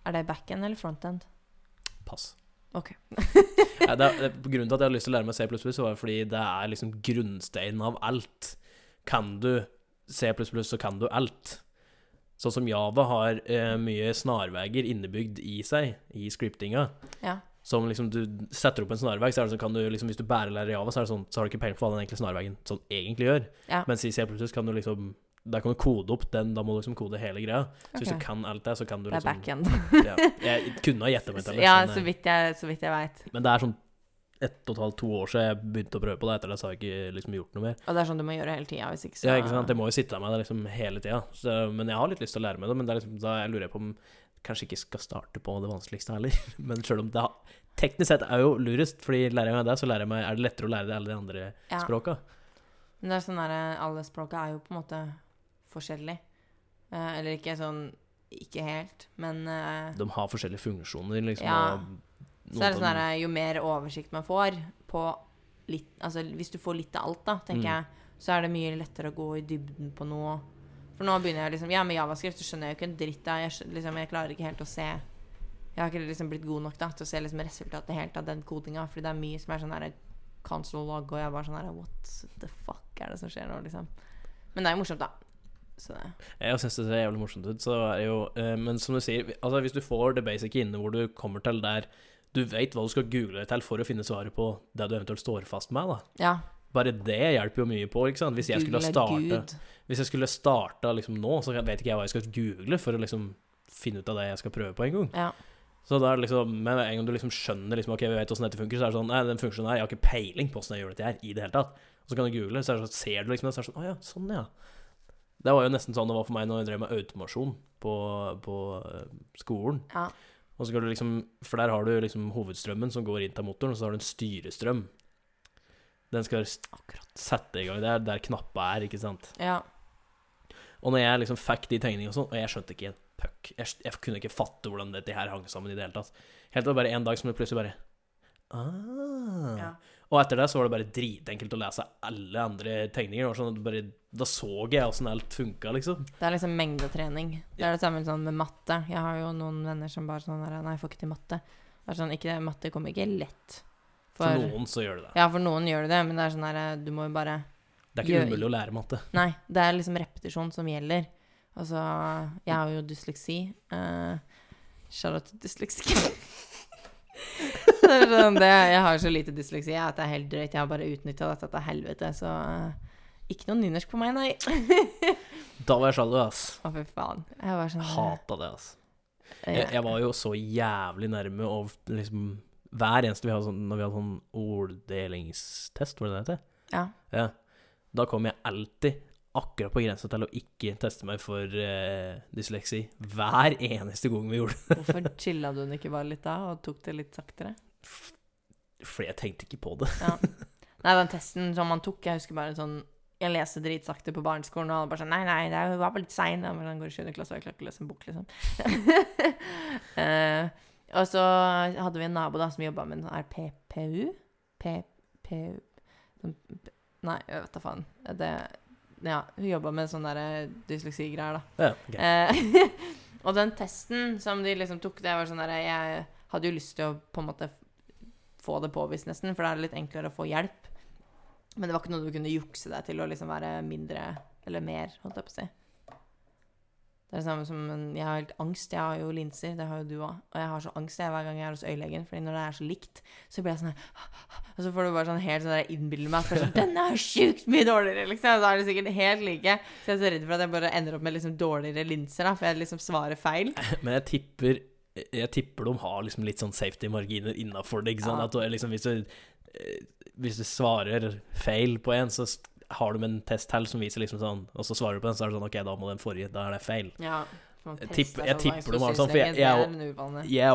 S3: Er det backend eller frontend?
S1: Pass.
S3: Ok.
S1: Nei, det er, det- grunnen til at jeg hadde lyst til å lære meg C++, var fordi det er liksom grunnsteinen av alt. Kan du C++, så kan du alt. Sånn som Java har eh, mye snarveier innebygd i seg, i scriptinga.
S3: Ja.
S1: Som liksom du setter opp en snarvei, så er det sånn, kan du liksom, hvis du bare lærer Java, så, er det sånn, så har du ikke peiling på hva den egentlig snarveien sånn egentlig gjør.
S3: Ja.
S1: Mens i C++ kan du liksom der kan du kode opp den, da må du liksom kode hele greia. Så hvis
S3: Ok.
S1: du kan alt det, så kan du
S3: Det er
S1: liksom
S3: backend.
S1: ja. Jeg kunne ha gjetta meg til det.
S3: Ja,
S1: men, eh,
S3: så vidt jeg, så vidt jeg veit.
S1: men det er sånn ett og et halvt, to år siden jeg begynte å prøve på det. Etter det så har jeg ikke liksom gjort noe mer.
S3: Og det er sånn du må gjøre hele tida. Hvis ikke så
S1: Ja, ikke sant? Jeg må jo sitte med det liksom hele tida. Så- Men jeg har litt lyst til å lære meg det. Men det er liksom, da jeg lurer jeg på om jeg kanskje ikke skal starte på det vanskeligste heller. Men sjøl om det har- teknisk sett er jo lurest, fordi lærer jeg meg det, så lærer jeg meg, er det lettere å lære det alle de andre
S3: Ja.
S1: språka.
S3: Men det er sånn der, alle språka er jo på en måte forskjellig. Eh, eller ikke sånn Ikke helt, men eh,
S1: De har forskjellige funksjoner, liksom.
S3: Ja.
S1: og
S3: Så
S1: noen
S3: er det
S1: av
S3: sånn
S1: dem-
S3: der, jo mer oversikt man får på litt Altså hvis du får litt av alt, da, tenker
S1: Mm.
S3: jeg, så er det mye lettere å gå i dybden på noe. For nå begynner jeg liksom Ja, med javascript så skjønner jeg jo ikke en dritt av jeg, skjø- liksom, jeg klarer ikke helt å se Jeg har ikke liksom blitt god nok da til å se liksom resultatet helt av den kodinga, fordi det er mye som er sånn der cancel log, og jeg er bare sånn der What the fuck er det som skjer nå, liksom? Men det er jo morsomt, da. Så det
S1: Jeg syns det ser jævlig morsomt ut. Så er det jo, eh, men som du sier, vi- altså hvis du får det basic inne hvor du kommer til der du veit hva du skal google deg til for å finne svaret på det du eventuelt står fast med, da.
S3: Ja.
S1: Bare det hjelper jo mye på, ikke sant. Hvis jeg skulle ha starta Hvis jeg skulle starta liksom nå, så vet ikke jeg hva jeg skal google for å liksom finne ut av det jeg skal prøve på en gang.
S3: Ja.
S1: Så da er det liksom, med en gang du liksom skjønner liksom, ok, vi vet hvordan dette funker, så er det sånn Nei, den funksjonen her, jeg har ikke peiling på hvordan jeg gjør dette her i det hele tatt. Og så kan du google, så, er det sånn, ser du liksom det, så er det sånn Å ja, sånn ja. Det var jo nesten sånn det var for meg når jeg drev med automasjon på, på eh, skolen.
S3: Ja.
S1: Og så kan du liksom, For der har du liksom hovedstrømmen som går inn til motoren, og så har du en styrestrøm. Den skal s- sette i gang. Det er der knappa er, ikke sant.
S3: Ja.
S1: Og når jeg liksom fikk de tegningene og sånn, og jeg skjønte ikke en puck jeg, skj- jeg kunne ikke fatte hvordan dette her hang sammen i det hele tatt. Helt til det bare en dag som det plutselig bare ah.
S5: Ja.
S1: Og etter det så var det bare dritenkelt å lese alle andre tegninger. Det var Sånn at det bare, da så jeg åssen alt funka, liksom.
S3: Det er liksom mengdetrening. Det
S1: Ja.
S3: er det samme sånn med matte. Jeg har jo noen venner som bare sånn der, Nei, jeg får ikke til matte. Det er sånn, ikke, matte kommer ikke lett.
S1: For, noen så gjør det det.
S3: Ja, for noen gjør det det, men det er sånn der Du må jo bare
S1: Det er ikke
S3: gjør-
S1: umulig å lære matte.
S3: Nei, det er liksom repetisjon som gjelder. Altså, jeg har jo dysleksi. Uh, Charlotte dysleksi. det er sånn, det, jeg har så lite dysleksi at det er helt drøyt. Jeg har bare utnytta dette til helvete, så eh, ikke noe nynorsk på meg, nei.
S1: Da var jeg sjalu, ass.
S3: Å, fy faen. Jeg var sånn
S1: Hata det, ass.
S3: eh,
S1: Jeg, jeg var jo så jævlig nærme å liksom Hver eneste vi hadde sånn, når vi hadde sånn orddelingstest, var det det heter?
S3: ja.
S1: Ja. Da kom jeg alltid akkurat på grensa til å ikke teste meg for eh, dysleksi. Hver eneste gang vi gjorde det.
S3: Hvorfor chilla du den ikke bare litt da, og tok det litt saktere?
S1: F- Fordi jeg tenkte ikke på det.
S3: Nei, den testen som man tok, jeg husker bare sånn Jeg leste dritsakte på barneskolen, og alle bare sånn Nei, nei, det er- hun var bare litt sein. da», Men han går i 7. klasse, og jeg klarer ikke å lese en bok, liksom. Eh, og så hadde vi en nabo da som jobba med en sånn her PPU? PPU sånn p- Nei, jeg vet da faen. Det Ja, hun jobba med sånne der eh, dysleksigreier, da.
S1: Ja, ok.
S3: Eh, og den testen som de liksom tok, det var sånn der Jeg hadde jo lyst til å på en måte få det påvist, nesten, for da er det litt enklere å få hjelp. Men det var ikke noe du kunne jukse deg til å liksom være mindre eller mer, holdt jeg på å si. Det er det samme som en- Jeg har helt angst. Jeg har jo linser, det har jo du òg. Og jeg har så angst jeg hver gang jeg er hos øyelegen, Fordi når det er så likt, så blir jeg sånn her Og så får du bare sånn helt sånn der innbiller meg at bare sånn, den er sjukt mye dårligere, liksom. Da er det sikkert helt like. Så jeg er så redd for at jeg bare ender opp med liksom dårligere linser, da, for jeg liksom svarer feil.
S1: Men jeg tipper, jeg tipper de har liksom litt sånn safety-marginer innafor det. ikke sant?
S3: Ja.
S1: At du, er liksom, hvis, du, eh, hvis du svarer feil på en, så s- har de en test til som viser liksom sånn, og så svarer du på den, så er det sånn OK, da må den forrige Da er det feil.
S3: Ja. for man
S1: Jeg
S3: tester
S1: tipper- jeg
S3: så mange
S1: tipper de har sånn, for jeg-
S3: spesialstreker,
S1: jeg er
S3: det er en uvane.
S1: Jeg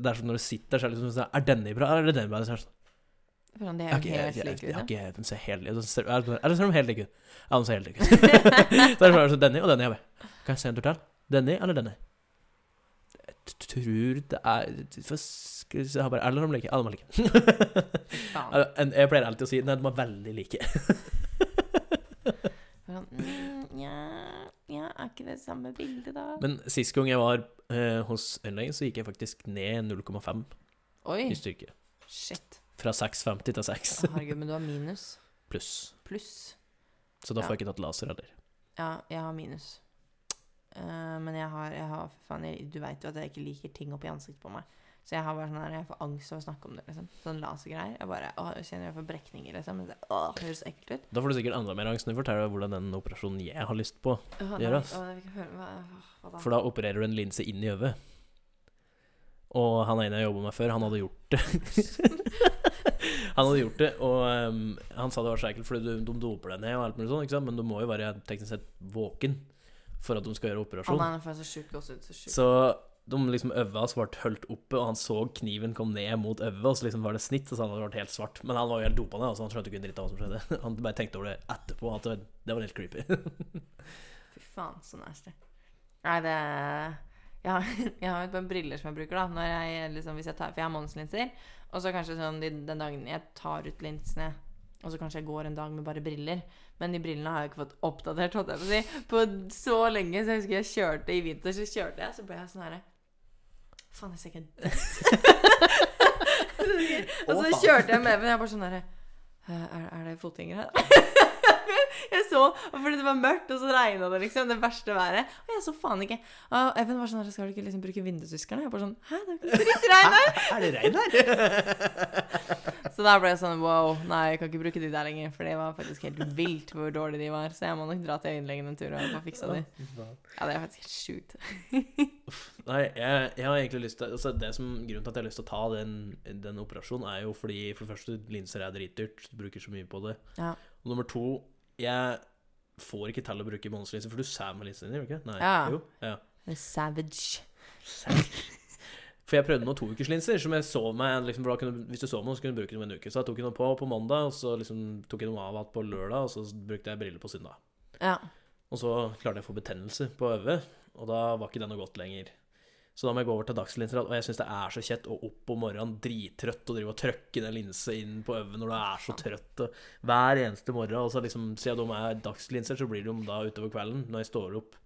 S1: òg Det er sånn når du sitter, så er det liksom sånn Er denne bra, eller er den bra? Så er det sånn,
S3: Hvordan det
S1: jeg har
S3: er
S1: ikke- jeg-
S3: helt
S1: jeg-
S3: slik,
S1: jeg har
S3: liksom.
S1: ikke- de ser helt like ut. Så ser- Er det- er det sånn de helt like ut? Ja, de ser helt like ut. Så er det bare sånn denne og denne. Jeg bare, kan jeg se en tur til? Denne eller denne? Jeg tror det er for, Skal vi se her bare, Er det noen de liker? Ja, de er like.
S3: Faen.
S1: Ja, en- Jeg pleier alltid å si Nei, de er veldig like.
S3: Hvordan, mm, ja, ja, er ikke det samme bildet, da?
S1: Men sist gang jeg var eh, hos øyenlegen, så gikk jeg faktisk ned 0,5
S3: Oi,
S1: i styrke.
S3: shit.
S1: Fra 6,50 til 6
S3: Å, Herregud, men du har minus.
S1: pluss.
S3: Pluss.
S1: Så da får
S3: Ja.
S1: jeg ikke tatt laser heller.
S3: Ja, jeg har minus. Eh, men jeg har, jeg har faen, jeg, Du veit jo at jeg ikke liker ting oppi ansiktet på meg. Så jeg har bare sånn her, jeg får angst av å snakke om det. liksom. Sånn lasergreier. Jeg bare, å, jeg kjenner jeg får brekninger, liksom. Men det, å, det høres ekkelt ut.
S1: Da får du sikkert enda mer angst når du forteller hvordan den operasjonen jeg har lyst på.
S3: Å, nei,
S1: Gjør det, ass.
S3: å, jeg vil ikke høre- hva, hva da?
S1: For da opererer du en linse inn i øyet. Og han ene jeg jobba med før, han hadde gjort det. han hadde gjort det, og ehm, han sa det var så ekkelt fordi du, de doper deg ned og alt mulig sånn, ikke sant? men du må jo være teknisk sett våken for at de skal gjøre
S3: Å,
S1: operasjon.
S3: nei, nå får jeg så sjukt gåsehud. Så
S1: sånn.
S3: sjukt.
S1: Så de liksom øva hans ble holdt oppe, og han så kniven kom ned mot øvet, og så liksom var det snitt, og så han hadde vært helt svart. Men han var jo helt dopa ned, altså, han skjønte ikke en dritt av hva som skjedde. Han bare tenkte over det etterpå, at det, det var helt creepy.
S3: Fy faen, så nasty. Nei, det Jeg har, jeg har et par briller som jeg bruker, da. Når jeg, liksom, hvis jeg tar, for jeg har Monsen-linser. Og så kanskje sånn de, den dagen jeg tar ut linsene, og så kanskje jeg går en dag med bare briller. Men de brillene har jeg ikke fått oppdatert, holdt jeg på å si, på så lenge. Så jeg husker jeg kjørte i vinter, så kjørte jeg, så ble jeg sånn herre Faen, jeg ser ikke en dritt. og så kjørte jeg med, men jeg bare sånn herre er, er det fotgjengere her? jeg så, og fordi det var mørkt, og så regna det, liksom. Det verste været. Og jeg så faen ikke. Og Even var sånn her, skal du ikke liksom bruke vindusviskerne? Jeg bare sånn, hæ, det er jo ikke drittregn her!
S1: er det regn her?
S3: Så da ble jeg sånn wow, nei, jeg kan ikke bruke de der lenger. For det var faktisk helt vilt hvor dårlige de var. Så jeg må nok dra til øyenlegen en tur og få fiksa de. Ja, det er faktisk helt sjukt.
S1: Nei, jeg, jeg har egentlig lyst til altså det som, Grunnen til at jeg har lyst til å ta den, den operasjonen, er jo fordi for det første, linser er dritdyrt. Du bruker så mye på det.
S3: Ja.
S1: Og nummer to, jeg får ikke til å bruke månedslinser, for du ser med linsene dine, gjør du ikke? Nei.
S3: Ja.
S1: Jo. Ja.
S3: Savage.
S1: For jeg prøvde noen toukerslinser, som jeg sov med liksom, for da kunne, Hvis du sov med dem, så kunne du bruke dem en uke. Så jeg tok jeg dem på på mandag, og så liksom, tok jeg dem av igjen på lørdag, og så brukte jeg briller på søndag.
S3: Ja.
S1: Og så klarte jeg å få betennelse på øyet, og da var ikke det noe godt lenger. Så da må jeg gå over til dagslinser, og jeg syns det er så kjett å opp om morgenen drittrøtt og drive og trøkke den linse inn på øyet når du er så trøtt og hver eneste morgen. Og så liksom, siden de er dagslinser, så blir de da utover kvelden når jeg står opp.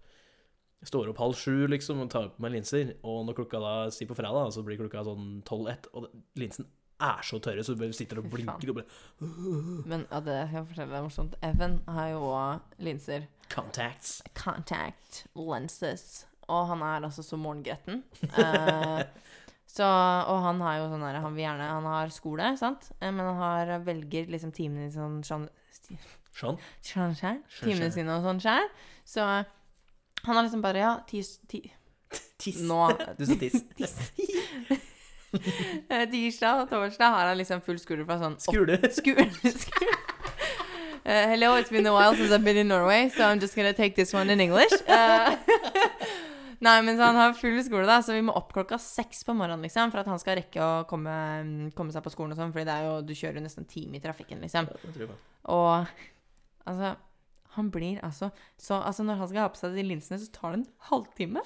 S1: Jeg står opp halv sju liksom, og tar på meg linser, og når klokka da sier på fredag, så blir klokka sånn tolv-ett, og det- linsen er så tørre, så du bare sitter og
S3: Fy faen.
S1: blinker og bare
S3: Men ja, det skal jeg fortelle deg morsomt. Even har jo òg linser.
S1: Contacts.
S3: contact lenses. Og han er altså så morgengretten. Eh, så, og han har jo sånn der, han vil gjerne Han har skole, sant? Eh, Men han har, velger liksom timene i sånn sånn-
S1: Sånn.
S3: sånn skjær.
S1: Sånn
S3: Timene
S1: skjær.
S3: sine og sånn skjær. Så han har liksom bare Ja, ti, ti
S1: Tiss.
S3: Nå
S1: Du sa tiss.
S3: Eh, Tirsdag og torsdag har han liksom full skulder fra sånn åtte-
S1: Skule.
S3: skulder. skulder. Eh, hello, it's been a while since I've been in Norway, so I'm just gonna take this one in English. Eh, nei, men så han har full skole, da, så vi må opp klokka seks på morgenen liksom, for at han skal rekke å mm, komme, komme seg på skolen og sånn, fordi det er jo, du kjører jo nesten en time i trafikken, liksom.
S1: Ja, det tror jeg på.
S3: Og Altså, han blir altså Så altså, når han skal ha på seg de linsene, så tar det en halvtime.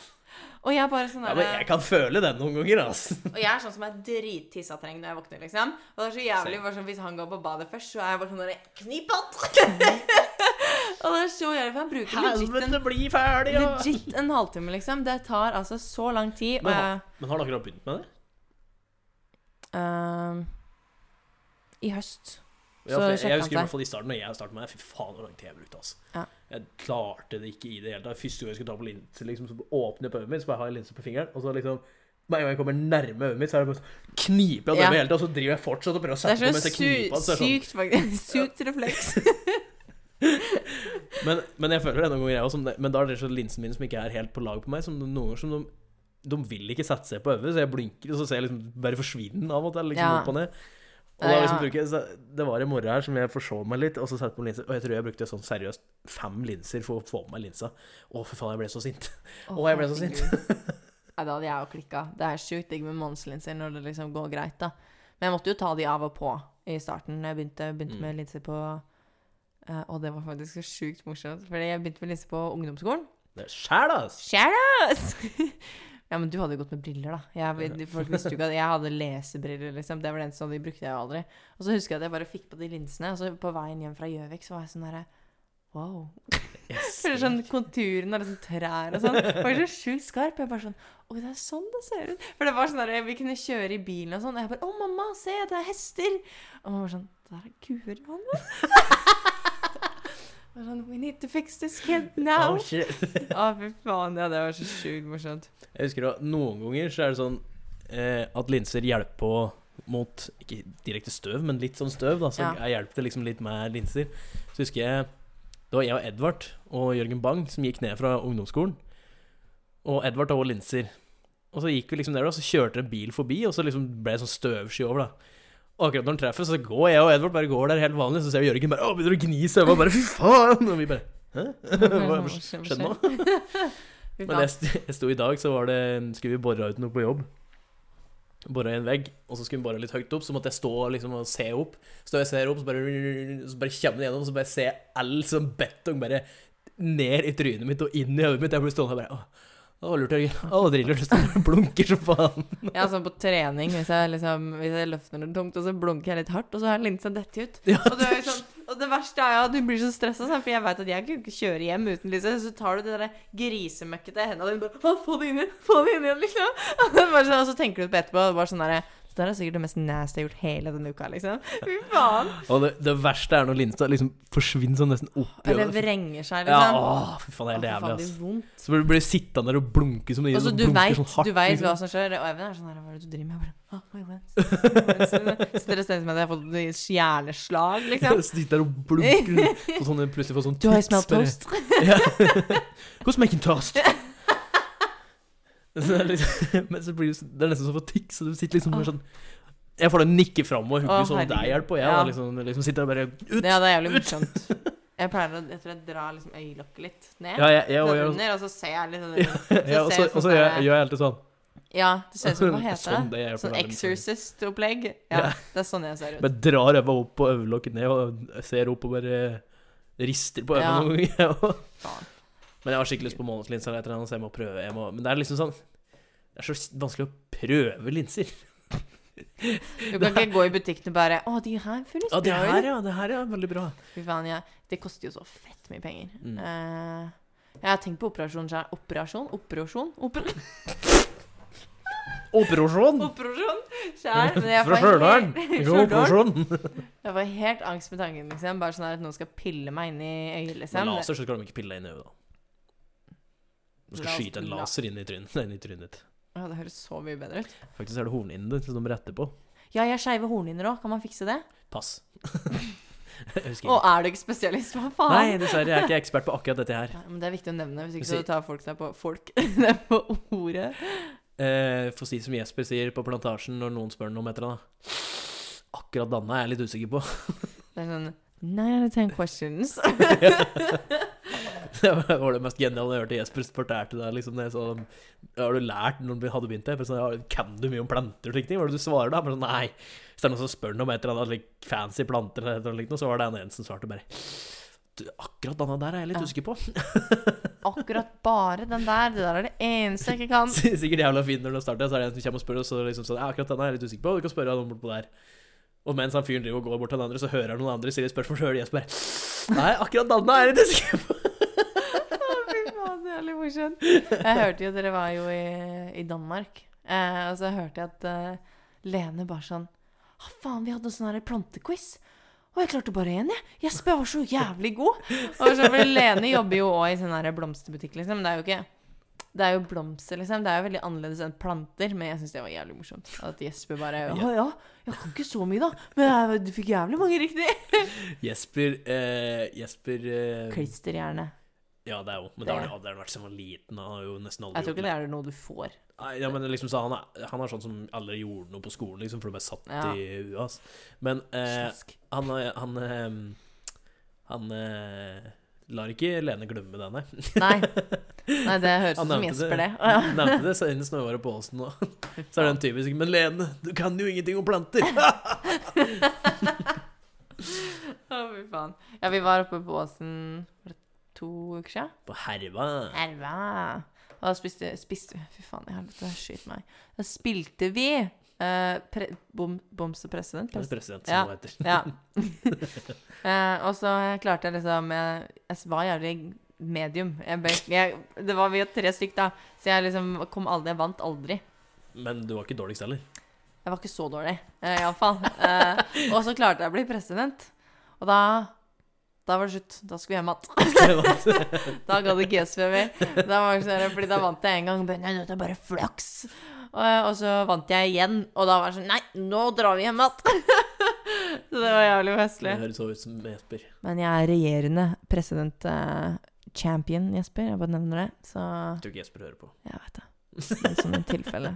S3: Og jeg er bare sånn
S1: Ja,
S3: der,
S1: men jeg kan føle den noen ganger, altså.
S3: Og jeg er sånn som er drittissatrengt når jeg våkner, liksom. Og det er så jævlig bare sånn, hvis han går på badet først, så er jeg bare sånn der, Knip han! og det er så jævlig, for han bruker legit en,
S1: Helvete, bli ferdig, ja!
S3: legit en halvtime, liksom. Det tar altså så lang tid. Og
S1: Men,
S3: jeg,
S1: har- men har dere begynt med det?
S3: ehm, I høst.
S1: Ja,
S3: Så
S1: for jeg,
S3: sjekket
S1: jeg
S3: han
S1: husker i
S3: seg.
S1: hvert fall i starten, når jeg startet med det, fy faen hvor lang tid jeg brukte, altså.
S3: Ja.
S1: Jeg klarte det ikke i det hele tatt. Første gang jeg skulle ta på linse, liksom, så åpner jeg på øyet mitt, så bare har jeg linse på fingeren, og så liksom, med en gang jeg kommer nærme øyet mitt, så er det bare sånn, kniper jeg det
S3: Ja.
S1: med hele tatt, og så driver jeg fortsatt og prøver å
S3: Det
S1: sette på
S3: er
S1: mens
S3: så
S1: jeg
S3: su-
S1: kniper, den, så er det sånn.
S3: sykt, faktisk. Sykt refleks.
S1: Men, men jeg føler det noen ganger, jeg også, som det- men da er det så linsen min som ikke er helt på lag på meg, som de- noen ganger som de, de vil ikke sette seg på øyet, så jeg blinker, og så ser jeg liksom, bare forsvinner den av og til, liksom
S3: Ja.
S1: opp og ned. Og da
S3: Ja.
S1: liksom bruker jeg, så det var en morgen her som jeg forsov meg litt, og så satte jeg på linser. Og jeg tror jeg brukte sånn seriøst fem linser for å få på meg linsa. Å, for faen, jeg ble så sint. Å, jeg ble så sint.
S3: Nei, da hadde jeg jo klikka. Det er sjukt digg med månedslinser når det liksom går greit, da. Men jeg måtte jo ta de av og på i starten. når Jeg begynte, begynte
S1: Mm.
S3: med linser på eh, Og det var faktisk så sjukt morsomt, Fordi jeg begynte med linser på ungdomsskolen.
S1: Det er skjær, da! ass.
S3: Shadows! ja, men du hadde jo gått med briller, da. Jeg, de- folk visste jo ikke at jeg hadde lesebriller, liksom. Det var den som de brukte jeg jo aldri. Og så husker jeg at jeg bare fikk på de linsene, og så på veien hjem fra Gjøvik så var jeg sånn derre Wow.
S1: Yes.
S3: Føler sånn konturen av liksom trær og sånn. Det Var så sjukt skarp. Jeg bare sånn Oi, det er sånn det ser ut. For det var sånn der, vi kunne kjøre i bilen og sånn. Og jeg bare Å, mamma, se, det er hester. Og mamma var sånn Det der er kuer, Johanne. Jeg var sånn, We need to fix this kid
S1: Å,
S3: now.
S1: Oh, shit.
S3: Å, fy faen. Ja, det var så sjukt morsomt.
S1: Jeg husker at noen ganger så er det sånn eh, at linser hjelper på mot ikke direkte støv, men litt sånn støv, da. Så
S3: Ja.
S1: jeg hjelper det liksom litt med linser. Så husker jeg det var jeg og Edvard og Jørgen Bang som gikk ned fra ungdomsskolen. Og Edvard hadde også linser. Og så gikk vi liksom der, og så kjørte en bil forbi, og så liksom ble det sånn støvsky over, da. Og akkurat når han treffer, så går jeg og Edvard bare går der helt vanlig, så ser vi Jørgen bare Å, begynner å gni i sømma, bare fy faen! Og vi bare Hæ? Hva skjedde nå?
S3: Fy
S1: Men jeg,
S3: faen.
S1: st- jeg sto i dag, så var det, skulle vi bore ut noe på jobb. Bora i en vegg, og så skulle vi bore litt høyt opp, så måtte jeg stå liksom, og se opp. Så jeg ser opp, så bare, så bare kommer det gjennom, så bare ser jeg all som betong bare ned i trynet mitt og inn i hodet mitt. Jeg blir stående og bare Åh, det var lurt, Jørgen. Åh, driller, du står og blunker som faen.
S3: Jeg er sånn på trening, hvis jeg, liksom, hvis jeg løfter noe tungt, og så blunker jeg litt hardt, og så har linsa dette ut.
S1: Ja,
S3: Og, du er jo sånn, og det verste er jo at du blir så stressa, for jeg veit at jeg kunne ikke kjøre hjem uten lyset. Så tar du det der grisemøkkete i hendene dine bare «Å, Få det inn igjen! Få det inn igjen! Liksom. Og, det er bare sånn, og så tenker du på etterpå, og det er bare sånn derre Det der er sikkert det mest nasty jeg har gjort hele denne uka, liksom. Fy faen.
S1: Og det, det verste er når linsa liksom forsvinner sånn nesten opp i
S3: Eller
S1: øyet.
S3: vrenger seg,
S1: Ja,
S3: liksom.
S1: åh, fy faen, det er helt jævlig,
S3: Å, fy faen, det
S1: ass.
S3: gjør vondt.
S1: Så blir du blir sittende der og blunke som det
S3: Og så
S1: som
S3: Altså, du
S1: blunker
S3: vet,
S1: sånn hardt,
S3: du vet
S1: liksom.
S3: hva som skjer, og Even er sånn her, hva er det du driver med? Jeg bare, «Å, my wens, my wens». Så dere ser ut som at jeg har fått et hjerneslag, liksom.
S1: Sitter der og blunker på sånne, plutselig får sånn
S3: Du har jo
S1: tics,
S3: smelt
S1: bare-
S3: toast.
S1: Ja. Who's making toast? så det er liksom, men så blir det, så- det er nesten som å få tics, så du sitter liksom bare sånn Jeg får det nikke fram og hugge
S3: Ah. Å,
S1: sånn deg
S3: herregud.
S1: hjelp, og jeg
S3: Ja.
S1: da liksom, liksom sitter og bare ut.
S3: Ja, det er jævlig morsomt. Jeg pleier å, jeg tror jeg drar liksom øyelokket litt ned.
S1: Ja, jeg, jeg,
S3: sånn
S1: og jeg,
S3: under, og så ser jeg litt sånn
S1: ja, og så- og så gjør jeg- gjør jeg alltid sånn.
S3: Ja, det ser ut som hva
S1: Sånn,
S3: heter det?
S1: det hjelper
S3: Sånn
S1: veldig mye.
S3: exorcist-opplegg.
S1: Ja.
S3: Ja, det er sånn jeg ser ut.
S1: Bare drar øva opp og øyelokket ned, og ser opp og bare rister på øva
S3: Ja.
S1: noen ganger. jeg også.
S3: Faen.
S1: Men jeg har skikkelig lyst på månedslinser, eller et eller annet, så jeg må prøve. Jeg må, men det er liksom sånn Det er så vanskelig å prøve linser.
S3: Du kan ikke gå i butikken og bare Å, de her føles
S1: Ja, det
S3: bra ut.
S1: her, ja. Det her, ja. Veldig bra.
S3: Fy faen, jeg, det koster jo så fett mye penger.
S1: Mm.
S3: Eh, jeg har tenkt på operasjon sjøl. Operasjon? Operasjon? Oper
S1: Operasjon!
S3: operasjon sjøl?
S1: Fra Stjørdal. Det går operasjon.
S3: Jeg får helt angst med tanken. liksom. Bare sånn her at noen skal pille meg inn i øyet.
S1: Med
S3: liksom.
S1: laser så skal de ikke pille deg inn i øyet, da. Du skal
S3: Las-
S1: skyte en
S3: la-
S1: laser inn i trynet inn i trynet ditt.
S3: Ja, det høres så mye bedre ut.
S1: Faktisk er det hornhinnen din som de retter på.
S3: Ja, jeg har skeive hornhinner òg. Kan man fikse det?
S1: Pass. Jeg husker
S3: Og
S1: ikke.
S3: er du ikke spesialist? Hva faen?
S1: Nei, dessverre. Jeg er ikke ekspert på akkurat dette her.
S3: Nei, men Det er viktig å nevne, hvis
S1: Du
S3: ikke
S1: sier-
S3: så tar folk deg på folk. det er på ordet.
S1: Eh, Få si som Jesper sier på Plantasjen når noen spør ham om et eller annet. Akkurat Danne er jeg litt usikker på.
S3: Det er sånn Nine out of ten questions.
S1: Det var det mest geniale jeg hørte Jesper fortalte deg. Liksom, det, så, har du lært når du hadde begynt det? Bare Sånn, ja, kan du mye om planter og slike ting? Hva er det du svarer da? Bare sånn, nei. Hvis det er noen som spør noe om et eller annet like, fancy planter, eller et eller annet, likt noe, så var det en, en som svarte bare d- akkurat denne der er jeg litt
S3: Ja.
S1: usikker på.
S3: Akkurat bare den der. Det der er det eneste jeg ikke kan.
S1: Sikkert jævla fint når det starter, så er det en som kommer og spør, og så liksom sånn, ja, akkurat denne er jeg litt usikker på, og du kan spørre han bortpå der. Og mens han fyren driver og går bort til den andre, så hører han noen andre stille spørsmål, så hører jeg bare, nei, akkurat denne er jeg litt usikker på.
S3: Fy faen, det er litt morsomt. Jeg hørte jo dere var jo i, i Danmark, eh, og så hørte jeg at eh, Lene bare sånn Å, faen, vi hadde sånn her plantequiz. Og jeg klarte bare én, jeg. Jesper var så jævlig god. Og så, for Lene jobber jo òg i sånn her blomsterbutikk, liksom. Det er jo ikke det er jo blomster, liksom. Det er jo veldig annerledes enn planter. Men jeg syns det var jævlig morsomt. At Jesper bare Å ja, jeg kan ikke så mye, da. Men jeg, du fikk jævlig mange riktig.
S1: Jesper, eh, Jesper, eh,
S3: Klisterhjerne.
S1: ja, det er jo, men det har han jo aldri vært siden han var liten, han har jo nesten aldri
S3: Jeg tror
S1: gjort
S3: ikke det er noe du får.
S1: Nei, ja, men liksom så han, er, han er sånn som aldri gjorde noe på skolen, liksom, for det ble satt
S3: Ja.
S1: i huet hans. Men eh,
S3: Slask.
S1: han, eh, han, eh, han eh, lar ikke Lene glemme det, nei.
S3: Nei. Nei, det høres
S1: Han
S3: ut som
S1: nevnte
S3: Jesper, det. Å,
S1: Han nevnte det senest når vi var på Åsen nå. Så er den typisk Men Lene, du kan jo ingenting om planter!
S3: Å, fy faen. Ja, vi var oppe på Åsen for to uker siden.
S1: På herva.
S3: Erva. Og da spiste, spiste Fy faen, jeg har lyst til å skyte meg. Da spilte vi eh, pre, bom, Boms og president.
S1: Det er
S3: Pres
S1: president som det heter.
S3: ja. Eh, og så klarte jeg liksom Jeg, jeg var jævlig medium. Jeg, ble- jeg, det var vi var tre stykk, da. Så jeg liksom kom aldri Jeg vant aldri.
S1: Men du var ikke dårligst heller.
S3: Jeg var ikke så dårlig, eh, iallfall. Eh, og så klarte jeg å bli president. Og da da var det slutt. Da skulle vi hjem igjen. Da gadd ikke GSV mer. Da var det sånn, her, fordi da vant jeg en gang. Men nei, dette er bare flaks. Og, eh, og så vant jeg igjen. Og da var det sånn Nei, nå drar vi hjem igjen! så det var jævlig
S1: Det
S3: festlig.
S1: høres så ut som Jesper.
S3: Men jeg er regjerende president eh, champion, Jesper. Jeg bare nevner det. Så
S1: Jeg tror ikke Jesper hører på.
S3: jeg vet det. Men som et tilfelle.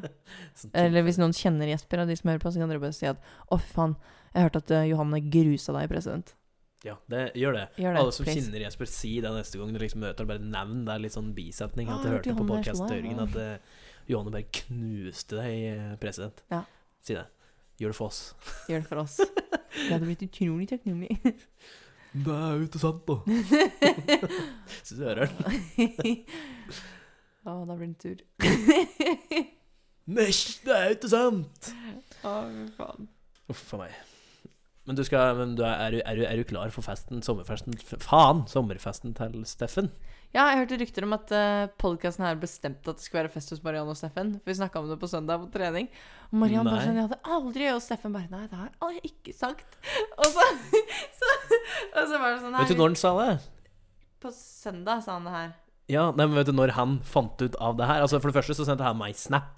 S1: Sånn typ-
S3: Eller hvis noen kjenner Jesper, og de som hører på, så kan dere bare si at å, fy faen, jeg hørte at eh, Johanne grusa deg, president.
S1: Ja, det, gjør det.
S3: Gjør det,
S1: Alle som
S3: please.
S1: kjenner Jesper, si det neste gang du liksom møter ham. Bare nevn det er litt sånn bisetning.
S3: Ah,
S1: At jeg
S3: hørte
S1: hørte på
S3: Johanne er så
S1: podkast
S3: der,
S1: Jørgen
S3: ja.
S1: at eh, Johanne bare knuste deg, eh, president.
S3: Ja.
S1: Si det. Gjør det for oss.
S3: Gjør det for oss. Jeg hadde blitt utrolig takknemlig.
S1: Det er jo ikke sant, da. Syns du hører den?
S3: Å, da blir det en tur.
S1: Nei, det er jo ikke sant!
S3: Å, fy faen.
S1: Uff a meg. Men du skal men du er, er, du- er, du- er du klar for festen, sommerfesten f- Faen! Sommerfesten til Steffen?
S3: Ja, jeg hørte rykter om at uh, podkasten her bestemte at det skulle være fest hos Marianne og Steffen. For vi snakka om det på søndag på trening. Og Mariann bare
S1: Nei.
S3: sånn Jeg hadde aldri Og Steffen bare Nei, det har jeg aldri ikke sagt. Og så, så, og så var det sånn
S1: Vet du
S3: her
S1: når han sa det?
S3: På søndag sa han det her.
S1: Ja, nei, men vet du når han fant ut av det her? Altså For det første så sendte han meg snap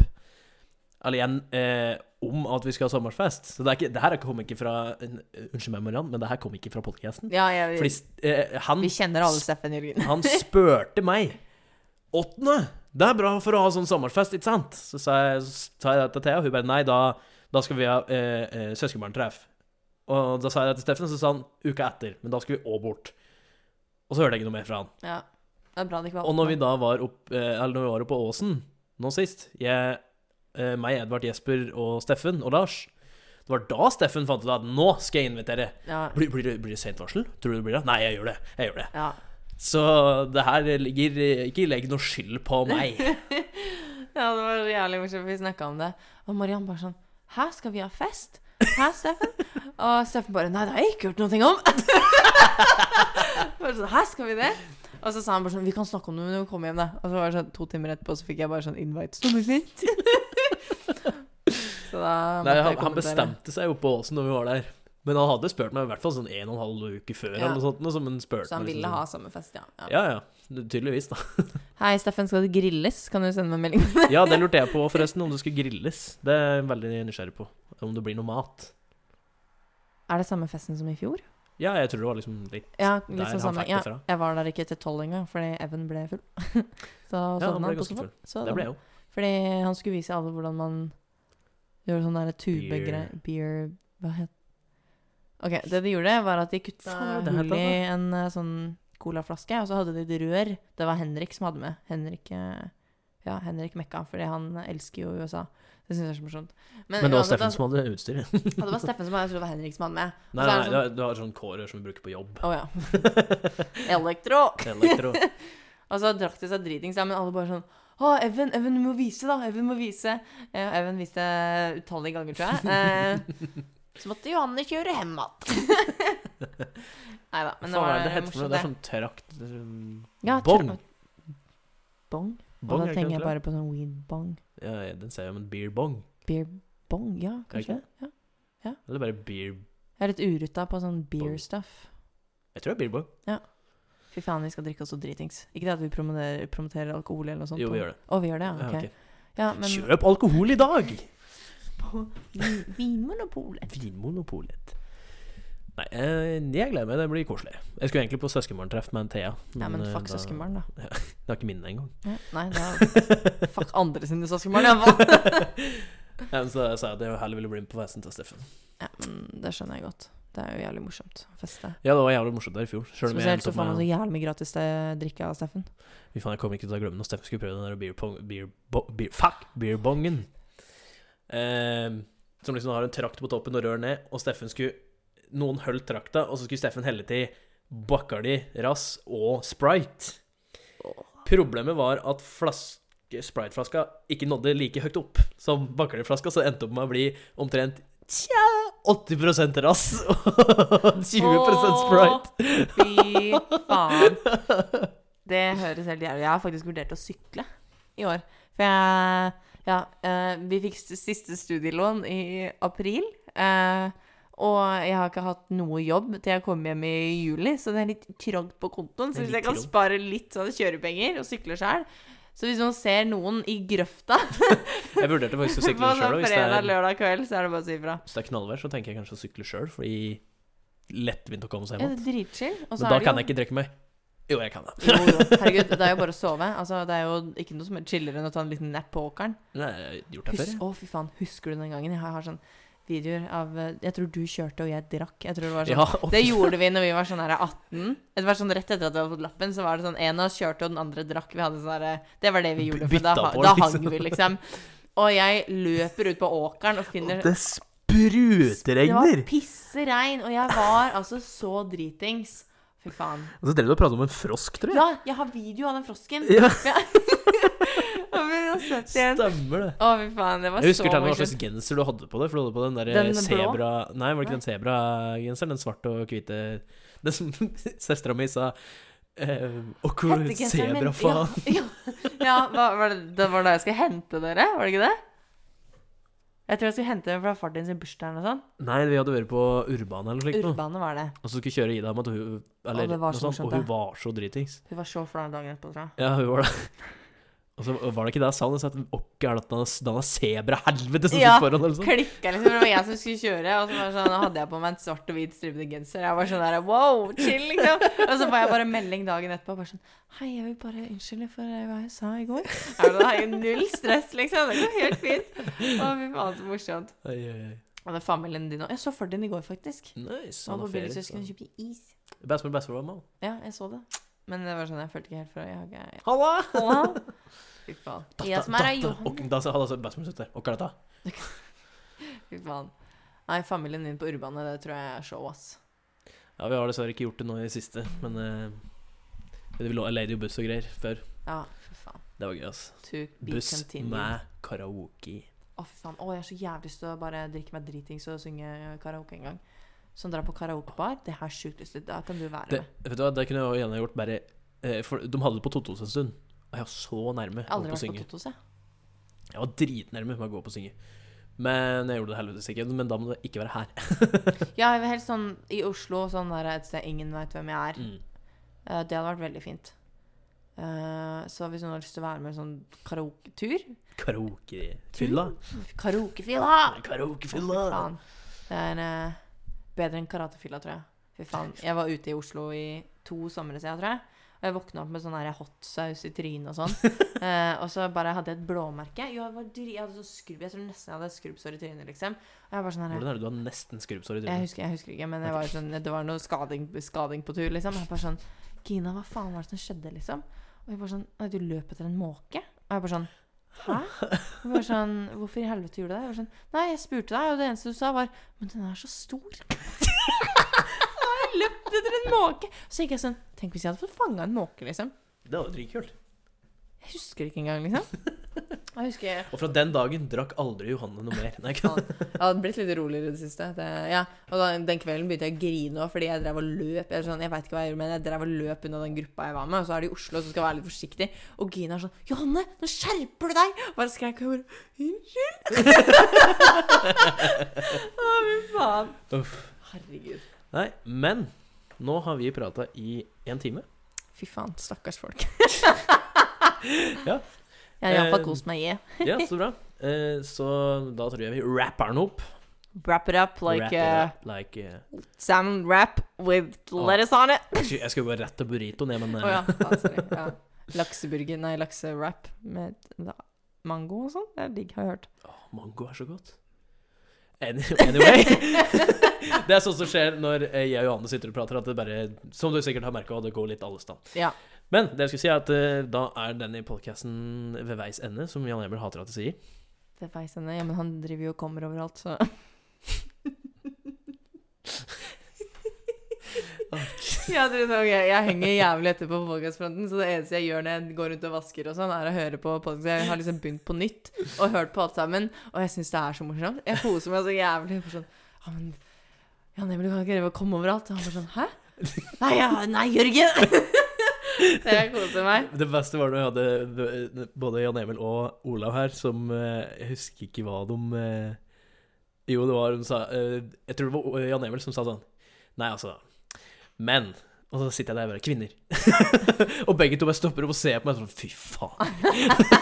S1: Eller igjen eh, om at vi skal ha sommerfest. Så det, er ikke, det her kom ikke fra Unnskyld meg, Mariann, men det her kom ikke fra podkasten.
S3: Ja, jeg,
S1: Fordi eh, han,
S3: Vi kjenner alle Steffen Jørgen.
S1: han spurte meg Åttende! Det er bra for å ha sånn sommerfest, ikke sant? Så sa jeg, så sa jeg det til Thea, og hun bare nei, da, da skal vi ha eh, eh, søskenbarntreff. Og da sa jeg det til Steffen, og så sa han uka etter. Men da skal vi òg bort. Og så hørte jeg ikke noe mer fra han.
S3: Ja. Det er bra det ikke var
S1: Og når vi da var opp, eh, eller når vi var oppe på Åsen nå sist jeg, eh, Meg, Edvard, Jesper og Steffen og Lars. Det var da Steffen fant ut at nå skal jeg invitere.
S3: ja.
S1: Blir, blir, det, blir det sent varsel? Tror du det blir det? Nei, jeg gjør det. jeg gjør det.
S3: ja.
S1: Så det her ligger eh, Ikke legg noe skyld på meg.
S3: ja, det var jævlig morsomt. Vi snakka om det. Og Mariann bare sånn Hæ, skal vi ha fest? Hæ, Steffen? Og Steffen bare Nei, det har jeg ikke hørt noe om. bare sånn, Hæ, skal vi det? Og så sa han bare sånn Vi kan snakke om det når vi kommer hjem, da. Og så var det sånn to timer etterpå, så fikk jeg bare sånn invite. Sommerfint. så da
S1: Nei, han, han
S3: kommentere.
S1: bestemte seg jo på Åsen når vi var der. Men han hadde spurt meg i hvert fall sånn en og en halv uke før.
S3: Ja.
S1: eller noe sånt, noe som han spurte
S3: Så han
S1: meg liksom
S3: ville
S1: sånn.
S3: ha samme fest, ja. ja.
S1: Ja, ja. Tydeligvis, da.
S3: Hei, Steffen, skal det grilles? Kan du sende meg en melding?
S1: Ja, det lurte jeg på forresten, om det skulle grilles. Det er jeg veldig nysgjerrig på. Om det blir noe mat.
S3: Er det samme festen som i fjor?
S1: Ja, jeg tror det var liksom litt
S3: Ja,
S1: der
S3: liksom
S1: han
S3: samme.
S1: fikk
S3: Ja,
S1: det fra.
S3: jeg var der ikke til tolv engang, fordi Evan ble full. så sovna
S1: han ble
S3: han på
S1: ganske
S3: sofaen.
S1: full.
S3: Så
S1: Det ble jeg jo.
S3: Fordi han skulle vise alle hvordan man gjør sånn derre tubegreier Beer. Hva het Ok, det de gjorde, var at de kutta
S1: Faen, det er helt
S3: hull i en eh, sånn colaflaske, og så hadde de et rør. Det var Henrik som hadde med. Henrik eh, Ja, Henrik Mekka, fordi han elsker jo USA. Det syns jeg er så morsomt.
S1: Men det var
S3: uansett,
S1: Steffen
S3: altså,
S1: som hadde utstyret. Nei,
S3: Ja, det var Steffen som hadde, jeg tror det var Henrik som hadde med.
S1: nei,
S3: så er
S1: nei,
S3: det
S1: du har- du har sånn kårer som vi bruker på jobb.
S3: Å ja. Elektro!
S1: Elektro.
S3: Og så drakk de seg dritings, da, men alle bare sånn Å, Even, Even, du må vise, da! Even må vise. Ja, Even viste utallige ganger, tror jeg. Eh, så måtte Johanne kjøre hjem igjen. Nei da, men
S1: Faen,
S3: det
S1: hva
S3: var
S1: er det det heter for noe?
S3: morsomt,
S1: Det er
S3: det.
S1: sånn trakt... um,
S3: Ja,
S1: bong.
S3: tra- Bong?
S1: Bong,
S3: Og
S1: er
S3: da
S1: ikke
S3: tenker
S1: det
S3: jeg bare på sånn weed bong.
S1: det? Ja, ja, den sier jo men beer bong.
S3: Beer bong, ja,
S1: ikke
S3: kanskje det. Ja.
S1: Eller bare beer
S3: Jeg er litt urutta på sånn beer
S1: Bong.
S3: stuff.
S1: Jeg tror det er beer bong.
S3: Fy faen, vi skal drikke oss så dritings. Ikke det at vi promoterer, promoterer alkohol eller noe sånt?
S1: Jo, vi
S3: på-
S1: gjør det.
S3: Å, vi gjør det, ja.
S1: Ja,
S3: Ok.
S1: ok.
S3: Ja, men
S1: Kjøp alkohol i dag!
S3: på vin- Vinmonopolet.
S1: Vinmonopolet. Nei, eh, jeg gleder meg. Det blir koselig. Jeg skulle egentlig på søskenbarntreff med en Thea.
S3: Nei, men
S1: eh,
S3: fuck
S1: da-
S3: søskenbarn, da.
S1: Det er ikke mine engang.
S3: Ja, Nei, da fuck andre sine søskenbarn, iallfall.
S1: Ja, men så sa jeg at jeg heller ville bli med på festen til Steffen.
S3: Ja, men det skjønner jeg godt. Det er jo jævlig morsomt å feste.
S1: Ja, det var jævlig morsomt der i fjor. Selv om jeg sånn
S3: Spesielt altså,
S1: endte
S3: så
S1: opp
S3: får man så
S1: med
S3: jævlig mye gratis eh, drikke av Steffen.
S1: Fy faen, jeg kommer ikke til å glemme når Steffen skulle prøve den der beer pong... Beer, bo, beer, fuck! Beerbongen. Eh, som liksom har en trakt på toppen og rør ned, og Steffen skulle Noen holdt trakta, og så skulle Steffen helle til Bacardi, Rass og Sprite. Problemet var at flaske, Sprite-flaska ikke nådde like høyt opp som Bacardi-flaska, så det endte opp med å bli omtrent tja, 80 rass og 20 Sprite.
S3: Fy faen. Det høres helt jævlig Jeg har faktisk vurdert å sykle i år. For jeg Ja, eh, vi fikk s- siste studielån i april. eh, og jeg har ikke hatt noe jobb til jeg kom hjem i juli, så det er litt trangt på kontoen.
S1: Det er
S3: Så hvis
S1: litt
S3: jeg kan
S1: trangt.
S3: spare litt sånn kjørepenger og sykle sjøl Så hvis noen ser noen i grøfta
S1: Jeg vurderte faktisk å
S3: på
S1: sykle sjøl.
S3: sånn
S1: Hvis, det
S3: fredag,
S1: er-
S3: lørdag kveld, så er det bare å si ifra.
S1: hvis det er knallvær, så tenker jeg kanskje å sykle sjøl, fordi lettvint å komme seg
S3: Ja,
S1: hjem igjen.
S3: det er dritchill. Og så
S1: Men
S3: er
S1: da
S3: det
S1: kan
S3: jo-
S1: jeg ikke drikke meg. Jo, jeg kan det.
S3: Jo, jo. Herregud, det er jo bare å sove. Altså, det er jo ikke noe som er chillere enn å ta en liten nap på åkeren.
S1: Nei, jeg har gjort det før.
S3: Hus
S1: jeg.
S3: å, fy faen, husker du den gangen? Jeg har, har sånn videoer av eh, Jeg tror du kjørte, og jeg drakk. Jeg tror det var sånn.
S1: Ja, og
S3: Det gjorde vi når vi var sånn her 18. Det var sånn Rett etter at vi hadde fått lappen, så var det sånn en av oss kjørte, og den andre drakk. Vi hadde sånn her, Det var det vi gjorde, for
S1: Bytta
S3: da, ha-
S1: på,
S3: da
S1: liksom.
S3: hang vi, liksom. Og jeg løper ut på åkeren og finner
S1: det
S3: Det var
S1: sprutregner!
S3: pisseregn, og jeg var altså så dritings. Fy faen.
S1: Og så drev du og pratet om en frosk, tror jeg.
S3: Ja, jeg har video av den frosken.
S1: Ja.
S3: Ja, men jeg har sett det igjen.
S1: Stemmer det.
S3: Å, fy faen, det var
S1: Jeg husker
S3: så
S1: til og med hva slags
S3: morsomt.
S1: genser du hadde på deg. For du hadde på den
S3: Den
S1: der
S3: blå?
S1: sebra... Nei, var det ikke
S3: Nei.
S1: den sebragenseren? Den svarte og hvite Den som søstera mi sa eh, Å, hvor
S3: Hettegenseren min-
S1: sebra, faen.
S3: Ja, ja, ja hva, var det, det var da jeg skulle hente dere, var det ikke det? Jeg tror jeg skulle hente dere fra far din sin bursdag eller noe sånt.
S1: Nei, vi hadde vært på Urbane eller noe slikt. nå.
S3: sånn. Urbane var det.
S1: Og så skulle kjøre Ida med at hun eller,
S3: Å, det var
S1: noe
S3: så
S1: sånt,
S3: morsomt,
S1: Og hun
S3: det.
S1: var så dritings.
S3: Hun var så flau dagen etterpå, tror jeg.
S1: Ja, hun var det. Og så var det ikke det jeg sa, hun sa at åkke er det at den har sebra-helvete som
S3: Ja,
S1: sitter foran, eller noe sånt.
S3: Klikka liksom, for det var jeg som skulle kjøre, og så var det sånn, da hadde jeg på meg en svart og hvit stripete genser. Jeg var sånn der, wow, chill, liksom. Og så får jeg bare melding dagen etterpå, bare sånn, hei, jeg vil bare unnskylde for eh, hva jeg sa i går. Jeg bare, «Hei, null stress, liksom. Det går helt fint. Å, fy faen, så morsomt.
S1: Oi, oi, oi.
S3: Og det er familien din også. Jeg så far din i går, faktisk.
S1: Nice. Han liksom.
S3: Han var
S1: har
S3: på billig,
S1: Sånn ferie.
S3: så jeg skulle
S1: så-
S3: kjøpe is.
S1: Bestemor, bestemor var med.
S3: Ja, jeg så det. Men det var sånn, jeg følte ikke helt for det. Jeg har ikke...
S1: Halla!
S3: Halla! Fy faen. Jeg som er av
S1: Datter-
S3: Johan.
S1: og- Da sa- hadde altså bestemor sett det. Åkke er dette?
S3: Fy faen. Nei, familien din på Urbane, det tror jeg er show, ass.
S1: Ja, vi har dessverre ikke gjort det nå i det siste, men eh, det ville være Lady og buss og greier før.
S3: Ja, fy faen.
S1: Det var gøy, ass.
S3: To be
S1: Buss
S3: continued.
S1: med karaoke.
S3: Å, fy faen. Å, jeg har så jævlig lyst til å bare drikke meg dritings og synge eh, karaoke en gang. Sånn dra på karaokebar, det har jeg sjukt lyst til. Da kan du være
S1: Det,
S3: med.
S1: vet du hva, det kunne jeg jo gjerne gjort bare eh, For de hadde det på Totos en stund, og jeg var så nærme
S3: Jeg har aldri
S1: å
S3: vært på
S1: synge.
S3: Totos, jeg.
S1: Jeg var dritnærme med å gå på å synge. Men jeg gjorde det helvetes ikke. Men da må det ikke være her.
S3: Ja, jeg er helt sånn i Oslo, sånn der et sted ingen veit hvem jeg er.
S1: Mm.
S3: Eh, Det hadde vært veldig fint. Eh, Så hvis noen har lyst til å være med i sånn karaoketur
S1: Karaokefylla.
S3: Karaokefylla!
S1: Karaokefylla.
S3: Faen. Det er eh, bedre enn karatefylla, tror jeg. Fy faen. Jeg var ute i Oslo i to somre siden, tror jeg. Og jeg våkna opp med sånn her hotsaus i trynet og sånn. Eh, og så bare hadde jeg et blåmerke. Jo, jeg, var dri jeg hadde sånn skrubb. Jeg tror nesten jeg hadde et skrubbsår i trynet, liksom. Og jeg var sånn her
S1: Hvordan er det du har nesten skrubbsår i
S3: jeg
S1: trynet?
S3: husker, jeg husker ikke, men jeg var sånn, det var noe skading, skading på tur, liksom. Jeg bare sånn Gina, hva faen var det som skjedde, liksom? Og jeg bare sånn Nei, du løp etter en måke? Og jeg bare sånn Hæ? Og Bare sånn, Hvorfor i helvete gjorde du det? Jeg bare sånn, Nei, jeg spurte deg, og det eneste du sa, var Men den er så stor. Så har jeg løpt etter en måke. Så gikk jeg sånn Tenk hvis jeg hadde fått fanga en måke, liksom.
S1: Det var jo dritkult.
S3: Jeg husker det ikke engang, liksom. Jeg husker
S1: Og fra den dagen drakk aldri Johanne noe mer. Nei, ikke
S3: Jeg hadde blitt litt roligere i det siste. Det, ja. Og da, den kvelden begynte jeg å grine også, fordi jeg drev og løp. Jeg, er sånn, jeg vet ikke hva jeg gjorde, men jeg drev og løp unna den gruppa jeg var med. Og så er det i Oslo, så skal jeg være litt forsiktig. Og Gina er sånn 'Johanne, nå skjerper du deg!' Og bare skrek og jeg bare 'Unnskyld'. Å, fy faen.
S1: Uff.
S3: Herregud.
S1: Nei, men nå har vi prata i en time.
S3: Fy faen, stakkars folk.
S1: Ja.
S3: Jeg har iallfall
S1: Eh,
S3: kost meg. Yeah.
S1: Ja, så bra. Eh, Så da tror jeg vi rapper den opp.
S3: Wrap it up like
S1: Wrap it
S3: a
S1: up like, eh,
S3: salmon wrap with lettuce on it.
S1: Jeg skulle- jeg skulle bare rette burritoen, jeg, men
S3: Å
S1: eh,
S3: ja. faen, sorry. Ja. Lakseburger, nei, laksewrap med da, mango og sånn. Det er digg, har jeg hørt.
S1: åh, mango er så godt. Any, anyway. det er sånt som skjer når eh, jeg og Johanne sitter og prater, at det bare Som du sikkert har merka, det går litt alle steder.
S3: Ja.
S1: Men det jeg skulle si, er at eh, da er denne podkasten ved veis ende, som Jan Emil hater at jeg sier.
S3: Det feis henne. Ja, men han driver jo og kommer overalt, så ja, dere sa, ok, jeg henger jævlig etter på podcastfronten, så det eneste jeg gjør når jeg går rundt og vasker, og sånn, er å høre på podcast. Jeg har liksom begynt på nytt og hørt på alt sammen, og jeg syns det er så morsomt. Jeg koser meg så jævlig. Bare sånn, ja, men Jan Emil, du kan ikke drive og komme overalt. Og han bare sånn Hæ? Nei, ja, nei, Jørgen! så jeg koser meg.
S1: Det beste var da vi hadde eh, både Jan Emil og Olav her, som eh, Jeg husker ikke hva de eh, Jo, det var hun sa eh, Jeg tror det var Jan Emil som sa sånn Nei, altså Men Og så sitter jeg der og bare Kvinner. og begge to bare stopper opp og ser på meg sånn Fy faen.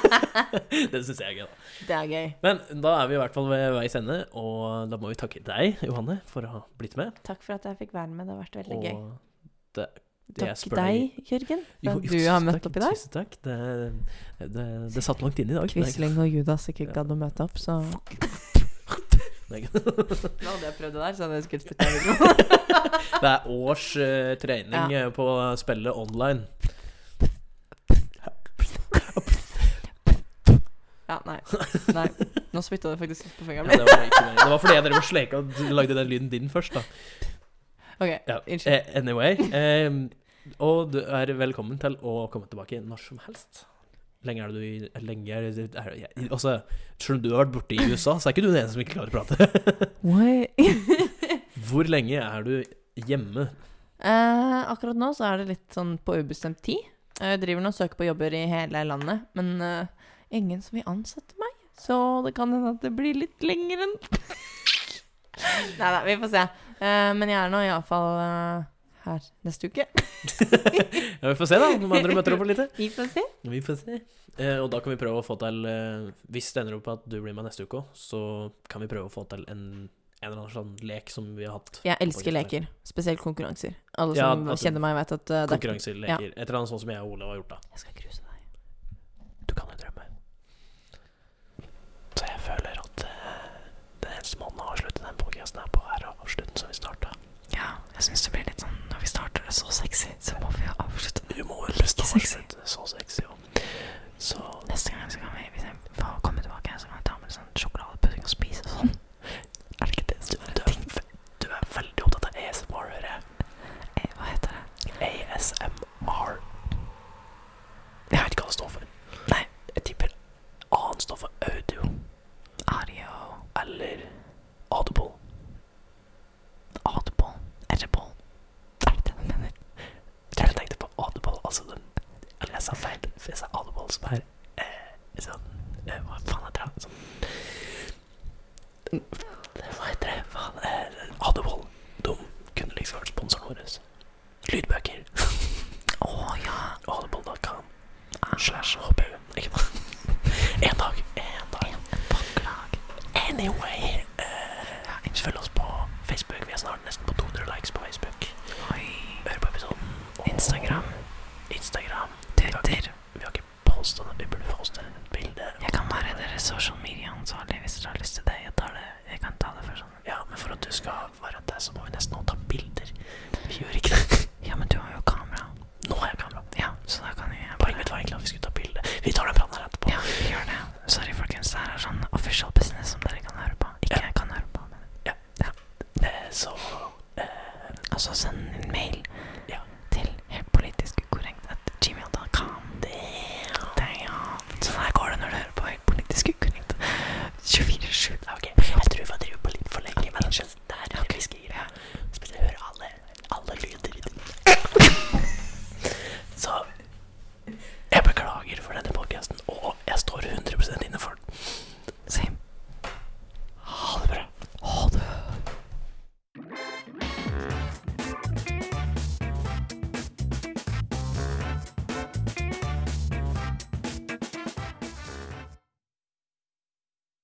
S1: det syns jeg er gøy, da.
S3: Det er gøy.
S1: Men da er vi i hvert fall ved veis ende, og da må vi takke deg, Johanne, for å ha blitt med.
S3: Takk for at jeg fikk være med. Det har vært veldig gøy.
S1: Og det, det jeg
S3: Takk
S1: spør
S3: deg, Jørgen, for
S1: Jo, jo,
S3: at du har
S1: tusen
S3: møtt
S1: takk,
S3: opp i dag.
S1: Tusen takk. Det, det, det satt langt inne i dag.
S3: Quisling og Judas ikke
S1: Ja.
S3: gadd å møte opp, så Nå
S1: Nei,
S3: hadde jeg prøvd det der, så hadde jeg skulle spytta i mikrofonen.
S1: Det er års eh, trening eh, på å spille online.
S3: Ja, nei. nei. Nå spytta du faktisk litt på
S1: Ja,
S3: fingeren
S1: det,
S3: min.
S1: var ikke, det var fordi jeg drev og sleka og lagde den lyden din først, da.
S3: OK,
S1: Ja.
S3: unnskyld.
S1: eh, Anyway. em, og du er velkommen til å komme tilbake når som helst. Lenge er du i lenge er, du- er, jeg- Også, Selv om du har vært borte i USA, så er ikke du den eneste som ikke klarer å prate.
S3: Wait.
S1: Hvor lenge er du hjemme?
S3: Eh, akkurat nå så er det litt sånn på ubestemt tid. Eh, Jeg driver nå og søker på jobber i hele landet, men eh, ingen som vil ansette meg. Så det kan hende at det blir litt lenger enn Nei da, vi får se. Eh, men jeg er nå iallfall uh, her neste uke.
S1: Ja, vi får se, da. Om andre møter opp litt.
S3: Vi får se.
S1: Vi får se. Eh, og da kan vi prøve å få til eh, Hvis det ender opp at du blir med neste uke òg, så kan vi prøve å få til en, en eller annen sånn lek som vi har hatt.
S3: Jeg elsker leker, spesielt konkurranser. Alle
S1: Ja,
S3: som
S1: at-
S3: kjenner meg, vet at uh, det er Ja.
S1: Konkurranseleker. Et eller annet sånn som jeg og Olav har gjort, da.
S3: Jeg skal gruse deg.
S1: Du kan jo drømme. Så jeg føler at eh, den eneste måten å avslutte den podkasten her på, er å avslutte den som vi starta.
S3: Ja, jeg syns det blir litt sånn Når vi starter det så sexy, så må vi jo avslutte
S1: Du må jo
S3: Like sexy.
S1: avslutte så sexy òg. Så
S3: neste gang. Så kan vi, hvis jeg får komme tilbake, så kan vi ta med sånn sjokoladepudding og spise og sånn.
S1: er det ikke det som er ting? Du er veldig opptatt av ASMR, hører jeg.
S3: Eh, Hva heter det?
S1: ASMR. Jeg vet ikke hva det står for. Nei, jeg tipper A-en står for audio
S3: Ario,
S1: eller audible.
S3: Audible, Edible. Er det det du mener?
S1: Jeg tror jeg tenkte på audible, altså den Eller jeg sa feil. for Jeg sa audible som er eh, sånn eh, Hva faen heter det? Sånn Hva heter det? Faen, eh, audible. De kunne liksom vært sponsoren vår. Lydbøker.
S3: Å Oh, ja.
S1: Audible.com slash hbu. Ikke da. En dag. En dag.
S3: Baklag.
S1: Anyway. eh, følg oss på Facebook. Vi er snart nesten på 200 likes på Facebook.
S3: Oi.
S1: Hør på episoden. Og
S3: Instagram.
S1: Instagram.
S3: Twitter.
S1: Vi har ikke postet det. Vi burde poste et bilde.
S3: Jeg kan være deres sosial sånn.
S2: sånn Altså,